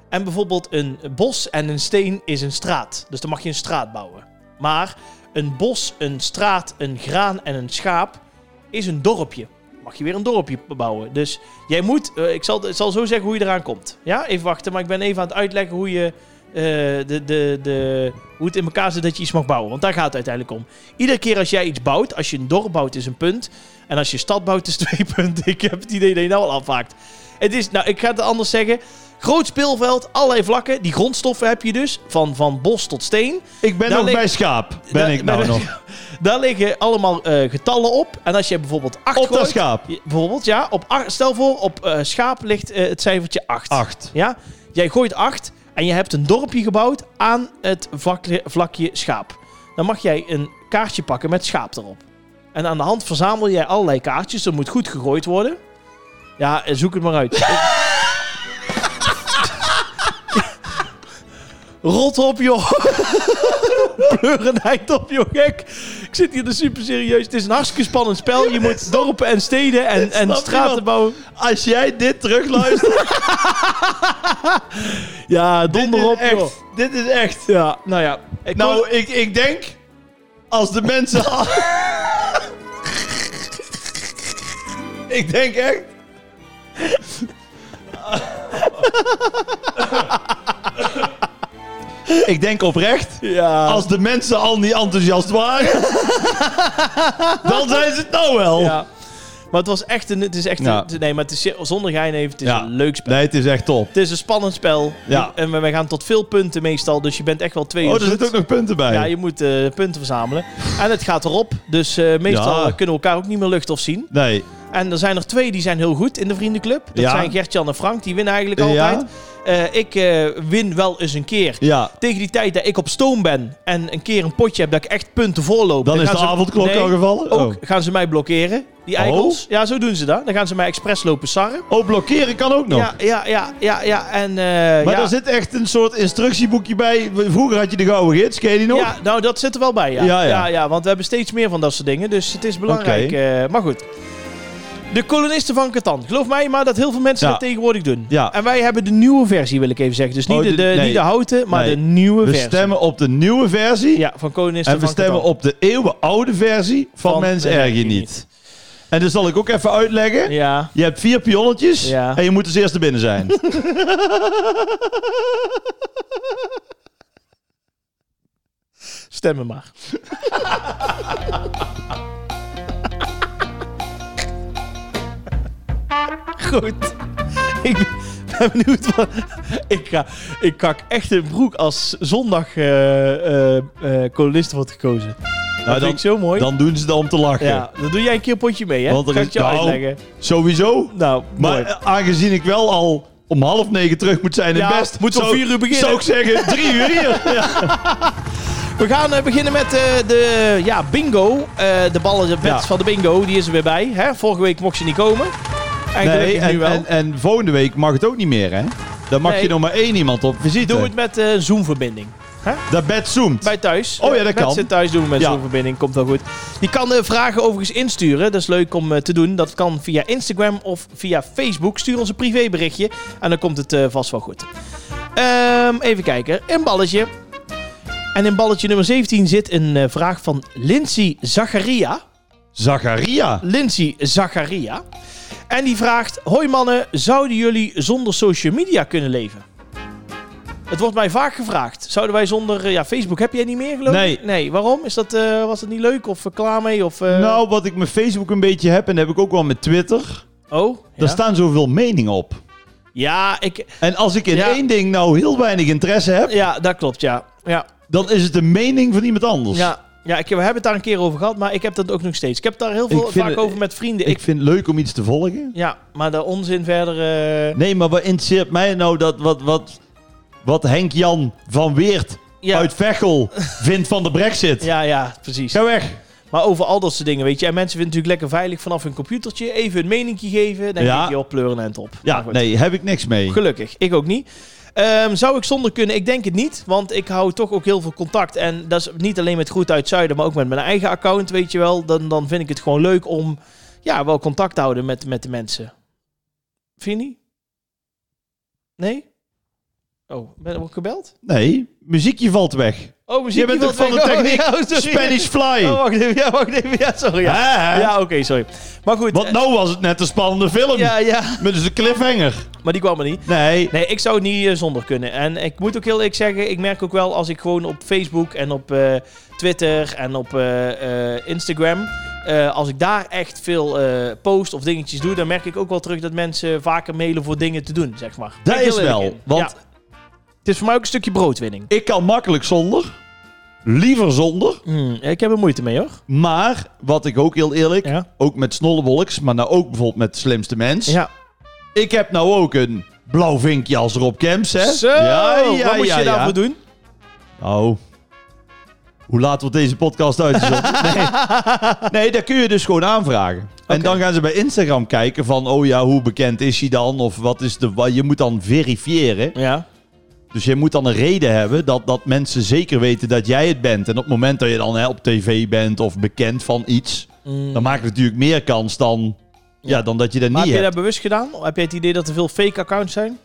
Speaker 1: En bijvoorbeeld een bos en een steen is een straat. Dus dan mag je een straat bouwen. Maar een bos, een straat, een graan en een schaap is een dorpje. Mag je weer een dorpje bouwen. Dus jij moet, eh, ik zal, ik zal zo zeggen hoe je eraan komt. Ja, even wachten, maar ik ben even aan het uitleggen hoe je. eh, de, de, de, hoe het in elkaar zit dat je iets mag bouwen. Want daar gaat het uiteindelijk om. Iedere keer als jij iets bouwt, als je een dorp bouwt, is een punt. En als je een stad bouwt, is [laughs] twee punten. Ik heb het idee dat je nou al afhaakt. Het is, nou, ik ga het anders zeggen. Groot speelveld, allerlei vlakken. Die grondstoffen heb je dus. Van, van bos tot steen.
Speaker 2: Ik ben
Speaker 1: daar
Speaker 2: nog
Speaker 1: ligt-
Speaker 2: bij schaap. Ben
Speaker 1: daar-
Speaker 2: ik nou
Speaker 1: daar-
Speaker 2: nog.
Speaker 1: Daar liggen allemaal eh, getallen op. En als je bijvoorbeeld 8
Speaker 2: Op dat schaap.
Speaker 1: Bijvoorbeeld, ja. Op acht- stel voor, op eh, schaap ligt eh, het cijfertje 8.
Speaker 2: Acht.
Speaker 1: Ja? Jij gooit acht en je hebt een dorpje gebouwd aan het vakle- vlakje schaap. Dan mag jij een kaartje pakken met schaap erop. En aan de hand verzamel jij allerlei kaartjes. Er moet goed gegooid worden. Ja, eh, zoek het maar
Speaker 2: [laughs]
Speaker 1: uit. Rot op, joh. [laughs] Pleur een eind op, joh, gek. Ik zit hier dus super serieus. Het is een hartstikke spannend spel. Je moet dorpen en steden en, en
Speaker 2: [laughs] Snap
Speaker 1: straten
Speaker 2: niemand.
Speaker 1: bouwen.
Speaker 2: Als jij
Speaker 1: [laughs]
Speaker 2: dit terugluistert,
Speaker 1: Ja,
Speaker 2: dit is
Speaker 1: donder op, joh.
Speaker 2: echt. Dit is echt.
Speaker 1: Ja, nou ja. Ik
Speaker 2: Nou, ik, ik denk. Als de mensen. [laughs] al- ik denk echt. ik denk oprecht.
Speaker 1: kon- ja.
Speaker 2: Als de mensen al niet enthousiast
Speaker 1: [laughs]
Speaker 2: waren. dan zijn ze het nou wel.
Speaker 1: ja. Maar het was echt een... Het is echt
Speaker 2: Ja.
Speaker 1: een- nee, maar het is, zonder gein even, het is
Speaker 2: Ja.
Speaker 1: een leuk spel.
Speaker 2: Nee, het is echt top.
Speaker 1: Het is een spannend spel.
Speaker 2: Ja.
Speaker 1: En we- we gaan tot veel punten meestal. Dus je bent echt wel twee
Speaker 2: Oh,
Speaker 1: uur
Speaker 2: er zitten ook nog punten bij.
Speaker 1: Ja, je moet eh, punten verzamelen. En het gaat erop. Dus eh, meestal
Speaker 2: Ja.
Speaker 1: eh, kunnen we elkaar ook niet meer lucht of zien.
Speaker 2: Nee.
Speaker 1: En er zijn er twee die zijn heel goed in de vriendenclub. Dat
Speaker 2: Ja.
Speaker 1: zijn Gertjan en Frank. Die winnen eigenlijk
Speaker 2: Ja.
Speaker 1: altijd. Eh, ik eh, win wel eens een keer.
Speaker 2: Ja.
Speaker 1: Tegen die tijd dat ik op stoom ben en een keer een potje heb dat ik echt punten voorloop.
Speaker 2: Dan is de
Speaker 1: gaan ze-
Speaker 2: avondklok
Speaker 1: Nee,
Speaker 2: al gevallen.
Speaker 1: Ook gaan ze mij blokkeren, die
Speaker 2: Oh.
Speaker 1: eikels. Ja, zo doen ze dat. Dan gaan ze mij expres lopen sarren.
Speaker 2: Oh. oh, blokkeren kan ook nog.
Speaker 1: Ja, ja, ja, ja, ja. En, eh,
Speaker 2: Maar
Speaker 1: ja.
Speaker 2: daar zit echt een soort instructieboekje bij. Vroeger had je de gouden gids, ken je die nog?
Speaker 1: Ja, nou, dat zit er wel bij, ja.
Speaker 2: Ja, ja.
Speaker 1: want we hebben steeds meer van dat soort dingen, dus het is belangrijk. eh, maar goed. De kolonisten van Catan. Geloof mij maar dat heel veel mensen
Speaker 2: Ja.
Speaker 1: dat tegenwoordig doen.
Speaker 2: Ja.
Speaker 1: En wij hebben de nieuwe versie, wil ik even zeggen. Dus niet,
Speaker 2: Oh,
Speaker 1: de,
Speaker 2: de-
Speaker 1: de,
Speaker 2: nee.
Speaker 1: niet de houten, maar
Speaker 2: Nee.
Speaker 1: de nieuwe
Speaker 2: we
Speaker 1: versie.
Speaker 2: stemmen op de nieuwe versie.
Speaker 1: Ja, van kolonisten
Speaker 2: en we
Speaker 1: van Catan.
Speaker 2: stemmen op de eeuwenoude versie van,
Speaker 1: Van
Speaker 2: Mens
Speaker 1: Mens
Speaker 2: Erg Je
Speaker 1: Erg Je
Speaker 2: Niet. En dat zal ik ook even uitleggen.
Speaker 1: Ja.
Speaker 2: Je hebt vier pionnetjes
Speaker 1: Ja.
Speaker 2: en je moet als eerste binnen
Speaker 1: [laughs]
Speaker 2: zijn. Nou,
Speaker 1: Stemmen maar. Goed. Ik ben benieuwd wat... Ik, ga, ik kak echt een broek als zondag eh, eh, eh, kolonist wordt gekozen. dat
Speaker 2: Nou, dan-
Speaker 1: vind ik zo mooi.
Speaker 2: Dan doen ze dat om te lachen.
Speaker 1: ja, dan doe jij een keer een potje mee, hè?
Speaker 2: Want er
Speaker 1: Kan
Speaker 2: is-
Speaker 1: ik je
Speaker 2: nou,
Speaker 1: uitleggen.
Speaker 2: Sowieso.
Speaker 1: Nou,
Speaker 2: Maar
Speaker 1: mooi.
Speaker 2: eh, aangezien ik wel al om half negen terug moet zijn in
Speaker 1: Ja,
Speaker 2: Best...
Speaker 1: moeten we
Speaker 2: zou-
Speaker 1: om vier uur beginnen.
Speaker 2: Zou ik zeggen, drie uur
Speaker 1: [laughs]
Speaker 2: hier. Ja.
Speaker 1: We gaan eh, beginnen met eh, de ja, bingo. Eh, de ballen, de bets
Speaker 2: Ja.
Speaker 1: van de bingo, die is er weer bij. Hè? Vorige week mocht ze niet komen. En
Speaker 2: Nee,
Speaker 1: gelukkig
Speaker 2: en,
Speaker 1: nu wel.
Speaker 2: En, en volgende week mag het ook niet meer, hè? Dan mag
Speaker 1: Nee.
Speaker 2: je nog maar één iemand op visite.
Speaker 1: Doe het met eh Zoom-verbinding.
Speaker 2: Dat bed zoomt.
Speaker 1: Bij thuis.
Speaker 2: Oh ja, dat kan.
Speaker 1: Mensen thuis doen we met
Speaker 2: Ja.
Speaker 1: zo'n verbinding. Komt wel goed. Je kan eh, vragen overigens insturen. Dat is leuk om eh, te doen. Dat kan via Instagram of via Facebook. Stuur ons een privéberichtje. En dan komt het eh, vast wel goed. Ehm, even kijken. Een balletje. En in balletje nummer 17 zit een eh, vraag van Lindsay Zagaria.
Speaker 2: Zagaria.
Speaker 1: Lindsay Zagaria. En die vraagt: Hoi mannen, zouden jullie zonder social media kunnen leven? Het wordt mij vaak gevraagd. Zouden wij zonder. eh, Ja, Facebook heb jij niet meer, geloof ik?
Speaker 2: Nee.
Speaker 1: Nee, waarom? Is dat, eh, was dat niet leuk of eh, klaar mee? Of, eh,
Speaker 2: nou, wat ik met Facebook een beetje heb, en dat heb ik ook wel met Twitter,
Speaker 1: Oh, ja.
Speaker 2: daar staan zoveel meningen op.
Speaker 1: ja, ik,
Speaker 2: En als ik in
Speaker 1: Ja.
Speaker 2: één ding nou heel weinig interesse heb,
Speaker 1: ja, dat klopt, ja. Ja,
Speaker 2: dan is het de mening van iemand anders.
Speaker 1: ja. ja ik, we hebben het daar een keer over gehad, maar ik heb dat ook nog steeds. Ik heb daar heel
Speaker 2: Ik
Speaker 1: veel
Speaker 2: vind
Speaker 1: vaak
Speaker 2: het-
Speaker 1: over met vrienden.
Speaker 2: Ik
Speaker 1: Ik,
Speaker 2: vind het leuk om iets te volgen.
Speaker 1: ja, maar de onzin verder. eh,
Speaker 2: Nee, maar wat interesseert mij nou dat wat, wat, wat Henk-Jan van Weert
Speaker 1: ja,
Speaker 2: uit Vechel vindt van de brexit?
Speaker 1: ja, ja, precies.
Speaker 2: Ga weg.
Speaker 1: Maar over al dat soort dingen, weet je. En mensen vinden het natuurlijk lekker veilig vanaf hun computertje. Even een meningje geven. Dan
Speaker 2: Ja.
Speaker 1: denk je, joh, pleuren en top.
Speaker 2: Ja,
Speaker 1: Maar goed.
Speaker 2: nee, heb ik niks mee.
Speaker 1: Gelukkig. Ik ook niet. Ehm, zou ik zonder kunnen? Ik denk het niet. Want ik hou toch ook heel veel contact. En dat is niet alleen met Goed Uit Zuiden, maar ook met mijn eigen account, weet je wel. Dan, dan vind ik het gewoon leuk om ja, wel contact te houden met, met de mensen. Vind je niet? Nee? Oh, ben ik ook gebeld?
Speaker 2: Nee, muziekje valt weg.
Speaker 1: Oh, muziek.
Speaker 2: bent
Speaker 1: iemand
Speaker 2: ook van
Speaker 1: weg.
Speaker 2: de
Speaker 1: Oh,
Speaker 2: techniek.
Speaker 1: ja, sorry.
Speaker 2: Spanish Fly.
Speaker 1: Oh, wacht even. Ja, wacht even. Ja, sorry. Ja,
Speaker 2: Hè?
Speaker 1: ja oké, sorry. Maar goed. eh,
Speaker 2: Want nou was het net een spannende film.
Speaker 1: Ja, ja.
Speaker 2: Met dus een cliffhanger.
Speaker 1: Maar die kwam er niet.
Speaker 2: Nee.
Speaker 1: Nee, ik zou het niet eh, zonder kunnen. En ik moet ook heel eerlijk zeggen, ik merk ook wel als ik gewoon op Facebook en op eh, Twitter en op eh, eh, Instagram. eh, als ik daar echt veel eh, post of dingetjes doe, dan merk ik ook wel terug dat mensen vaker mailen voor dingen te doen, zeg maar. Ben
Speaker 2: Dat
Speaker 1: ik heel
Speaker 2: is
Speaker 1: eerlijk
Speaker 2: wel,
Speaker 1: in.
Speaker 2: want-
Speaker 1: Ja. Het is voor mij ook een stukje broodwinning.
Speaker 2: Ik kan makkelijk zonder. Liever zonder.
Speaker 1: Hmm, ik heb er moeite mee hoor.
Speaker 2: Maar, wat ik ook heel eerlijk...
Speaker 1: Ja.
Speaker 2: Ook met Snollewolks, maar nou ook bijvoorbeeld met Slimste Mens.
Speaker 1: Ja.
Speaker 2: Ik heb nou ook een blauw vinkje als Rob Kemps, hè?
Speaker 1: Zo, wat moet je daarvoor doen?
Speaker 2: Nou, hoe laat wordt deze
Speaker 1: [laughs]
Speaker 2: podcast uitgezonden? nee. nee, daar kun je dus gewoon aanvragen. En
Speaker 1: Oké.
Speaker 2: dan gaan ze bij Instagram kijken van, oh ja, hoe bekend is hij dan? Of wat is de... wa- Je moet dan verifiëren.
Speaker 1: Ja.
Speaker 2: Dus je moet dan een reden hebben dat, dat mensen zeker weten dat jij het bent. En op het moment dat je dan hè, op tv bent of bekend van iets, dan maakt het natuurlijk meer kans dan, ja, dan dat je dat
Speaker 1: Mhm. Maar Hmm. heb je
Speaker 2: niet hebt.
Speaker 1: dat bewust gedaan? Of heb jij het idee dat er veel fake accounts zijn?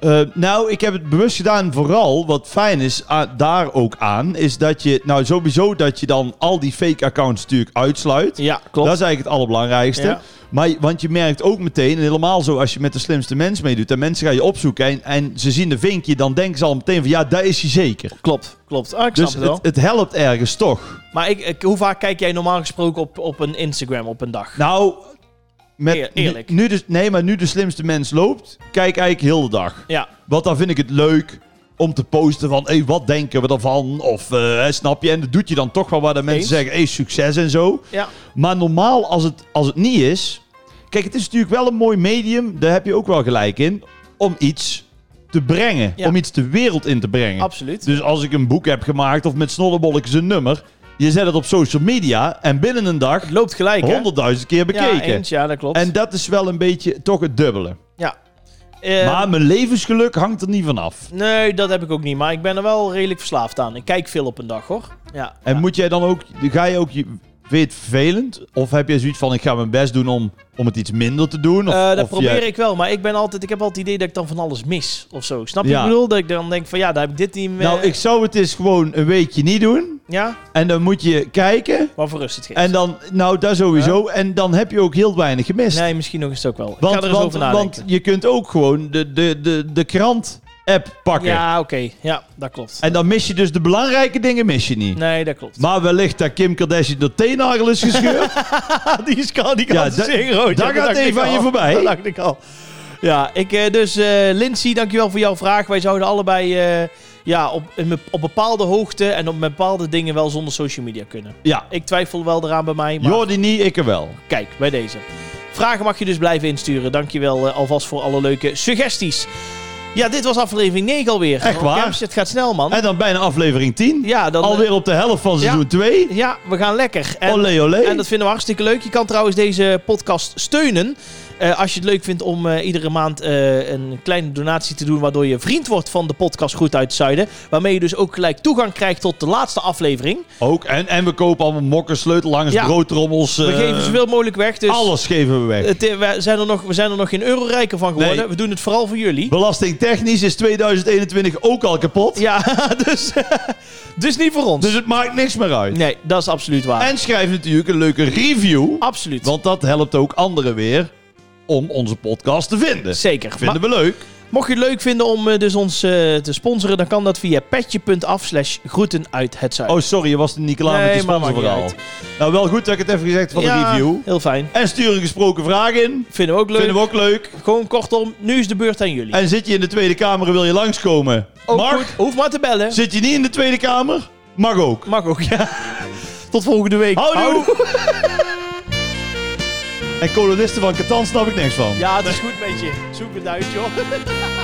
Speaker 2: Eh, nou, ik heb het bewust gedaan. Vooral wat fijn is a- daar ook aan, is dat je, nou sowieso dat je dan al die fake accounts natuurlijk uitsluit.
Speaker 1: Ja, klopt.
Speaker 2: Dat is eigenlijk het allerbelangrijkste.
Speaker 1: Ja.
Speaker 2: Maar, je- want je merkt ook meteen, en helemaal zo als je met de slimste mens meedoet, en mensen gaan je opzoeken en, en ze zien de vinkje, dan denken ze al meteen van ja, daar is hij zeker.
Speaker 1: Klopt, klopt. Ah, ik
Speaker 2: Dus
Speaker 1: snap het wel.
Speaker 2: het, het helpt ergens toch.
Speaker 1: maar ik, ik- hoe vaak kijk jij normaal gesproken op, op een Instagram op een dag?
Speaker 2: Nou, met,
Speaker 1: Eer- eerlijk.
Speaker 2: Nu, nu de, nee, maar nu de slimste mens loopt, kijk eigenlijk heel de dag.
Speaker 1: Ja,
Speaker 2: Want dan vind ik het leuk om te posten van, hé, wat denken we ervan? Of, eh, hè, snap je? En dat doet je dan toch wel waar de mensen
Speaker 1: Eens.
Speaker 2: zeggen, hé, succes en zo.
Speaker 1: ja.
Speaker 2: Maar normaal, als het, als het niet is... Kijk, het is natuurlijk wel een mooi medium, daar heb je ook wel gelijk in, om iets te brengen.
Speaker 1: Ja.
Speaker 2: Om iets de wereld in te brengen.
Speaker 1: absoluut.
Speaker 2: Dus als ik een boek heb gemaakt of met snollebolletjes een nummer, je zet het op social media en binnen een dag
Speaker 1: Het loopt gelijk, hè?
Speaker 2: honderdduizend keer
Speaker 1: Ja,
Speaker 2: bekeken.
Speaker 1: eens, ja, dat klopt.
Speaker 2: en dat is wel een beetje toch het dubbele.
Speaker 1: ja. Eh,
Speaker 2: maar mijn levensgeluk hangt er niet van af.
Speaker 1: Nee, dat heb ik ook niet. Maar ik ben er wel redelijk verslaafd aan. Ik kijk veel op een dag, hoor. Ja.
Speaker 2: En
Speaker 1: ja.
Speaker 2: moet jij dan ook, ga je ook, je- vind je het vervelend? Of heb je zoiets van, ik ga mijn best doen om, om het iets minder te doen? Of,
Speaker 1: Eh, dat
Speaker 2: of
Speaker 1: probeer
Speaker 2: je-
Speaker 1: ik wel, maar ik, ben altijd, ik heb altijd het idee dat ik dan van alles mis of zo. Snap je
Speaker 2: Ja.
Speaker 1: wat ik bedoel? Dat ik dan denk van ja, daar heb ik dit niet meer.
Speaker 2: Nou, ik zou het eens gewoon een weekje niet doen.
Speaker 1: Ja,
Speaker 2: En dan moet je kijken.
Speaker 1: maar voor rust het geeft.
Speaker 2: En dan, nou, daar sowieso. En dan heb je ook heel weinig gemist.
Speaker 1: Nee, misschien nog eens ook wel. ik
Speaker 2: want,
Speaker 1: ga er eens
Speaker 2: want,
Speaker 1: over nadenken.
Speaker 2: want je kunt ook gewoon de, de, de, de krant-app pakken.
Speaker 1: ja, oké. Ja, dat klopt.
Speaker 2: En dan mis je dus de belangrijke dingen mis je niet.
Speaker 1: Nee, dat klopt.
Speaker 2: Maar wellicht dat Kim Kardashian de teennagel is gescheurd.
Speaker 1: [laughs] die is kan, die
Speaker 2: Ja, da-
Speaker 1: rood.
Speaker 2: daar gaat
Speaker 1: dacht
Speaker 2: een
Speaker 1: ik
Speaker 2: van
Speaker 1: al.
Speaker 2: je voorbij.
Speaker 1: Dat dacht ik al. Ja, ik, eh, dus eh Lindsay, dankjewel voor jouw vraag. Wij zouden allebei eh, ja, op, een bep- op bepaalde hoogte en op bepaalde dingen wel zonder social media kunnen.
Speaker 2: ja,
Speaker 1: Ik twijfel wel eraan bij mij, maar
Speaker 2: Jordi niet, ik er wel.
Speaker 1: kijk, bij deze. Vragen mag je dus blijven insturen. Dankjewel eh, alvast voor alle leuke suggesties. Ja, dit was aflevering 9 alweer.
Speaker 2: Echt waar?
Speaker 1: Kermis, het gaat snel, man.
Speaker 2: En dan bijna aflevering 10.
Speaker 1: ja, dan, eh,
Speaker 2: Alweer Oh, op de helft van
Speaker 1: ja.
Speaker 2: seizoen 2.
Speaker 1: ja, we gaan lekker. En-
Speaker 2: olé, olé.
Speaker 1: en dat vinden we hartstikke leuk. Je kan trouwens deze podcast steunen. Eh, als je het leuk vindt om eh, iedere maand eh, een kleine donatie te doen. Waardoor je vriend wordt van de podcast Goed uit het Zuiden. Waarmee je dus ook gelijk toegang krijgt tot de laatste aflevering.
Speaker 2: Ook. En, en we kopen allemaal mokken, sleutelhangers,
Speaker 1: Ja.
Speaker 2: broodtrommels.
Speaker 1: We
Speaker 2: eh,
Speaker 1: geven zoveel mogelijk weg. Dus
Speaker 2: Alles geven we weg.
Speaker 1: het, eh, we, zijn er nog, we zijn er nog geen euro rijker van geworden.
Speaker 2: Nee.
Speaker 1: We doen het vooral voor jullie.
Speaker 2: Belastingtechnisch is 2021 ook al kapot.
Speaker 1: Ja, [laughs] dus, dus niet voor ons.
Speaker 2: Dus het maakt niks meer uit.
Speaker 1: Nee, dat is absoluut waar.
Speaker 2: En schrijf natuurlijk een leuke review.
Speaker 1: absoluut.
Speaker 2: Want dat helpt ook anderen weer om onze podcast te vinden.
Speaker 1: Zeker. Maar-
Speaker 2: Vinden we leuk.
Speaker 1: Mocht je het leuk vinden om eh, dus ons eh, te sponsoren, dan kan dat via petje.af slash groeten uit het zuiden.
Speaker 2: Oh, sorry, je was er niet klaar
Speaker 1: Nee,
Speaker 2: met die
Speaker 1: maar maakt niet
Speaker 2: sponsorverhaal. Nou, wel goed dat ik het even gezegd van de
Speaker 1: Ja,
Speaker 2: review.
Speaker 1: Heel fijn.
Speaker 2: En stuur een gesproken vraag in.
Speaker 1: Vinden we ook leuk.
Speaker 2: Vinden we ook leuk.
Speaker 1: Gewoon kortom, nu is de beurt aan jullie.
Speaker 2: En zit je in de Tweede Kamer en wil je langskomen?
Speaker 1: Ook
Speaker 2: mag.
Speaker 1: goed, hoef maar te bellen.
Speaker 2: Zit je niet in de Tweede Kamer? Mag ook.
Speaker 1: Mag ook, ja. Tot volgende week.
Speaker 2: Houdoe! En kolonisten van Catan snap ik niks van.
Speaker 1: Ja, het is goed met je. Zoek het uit, joh.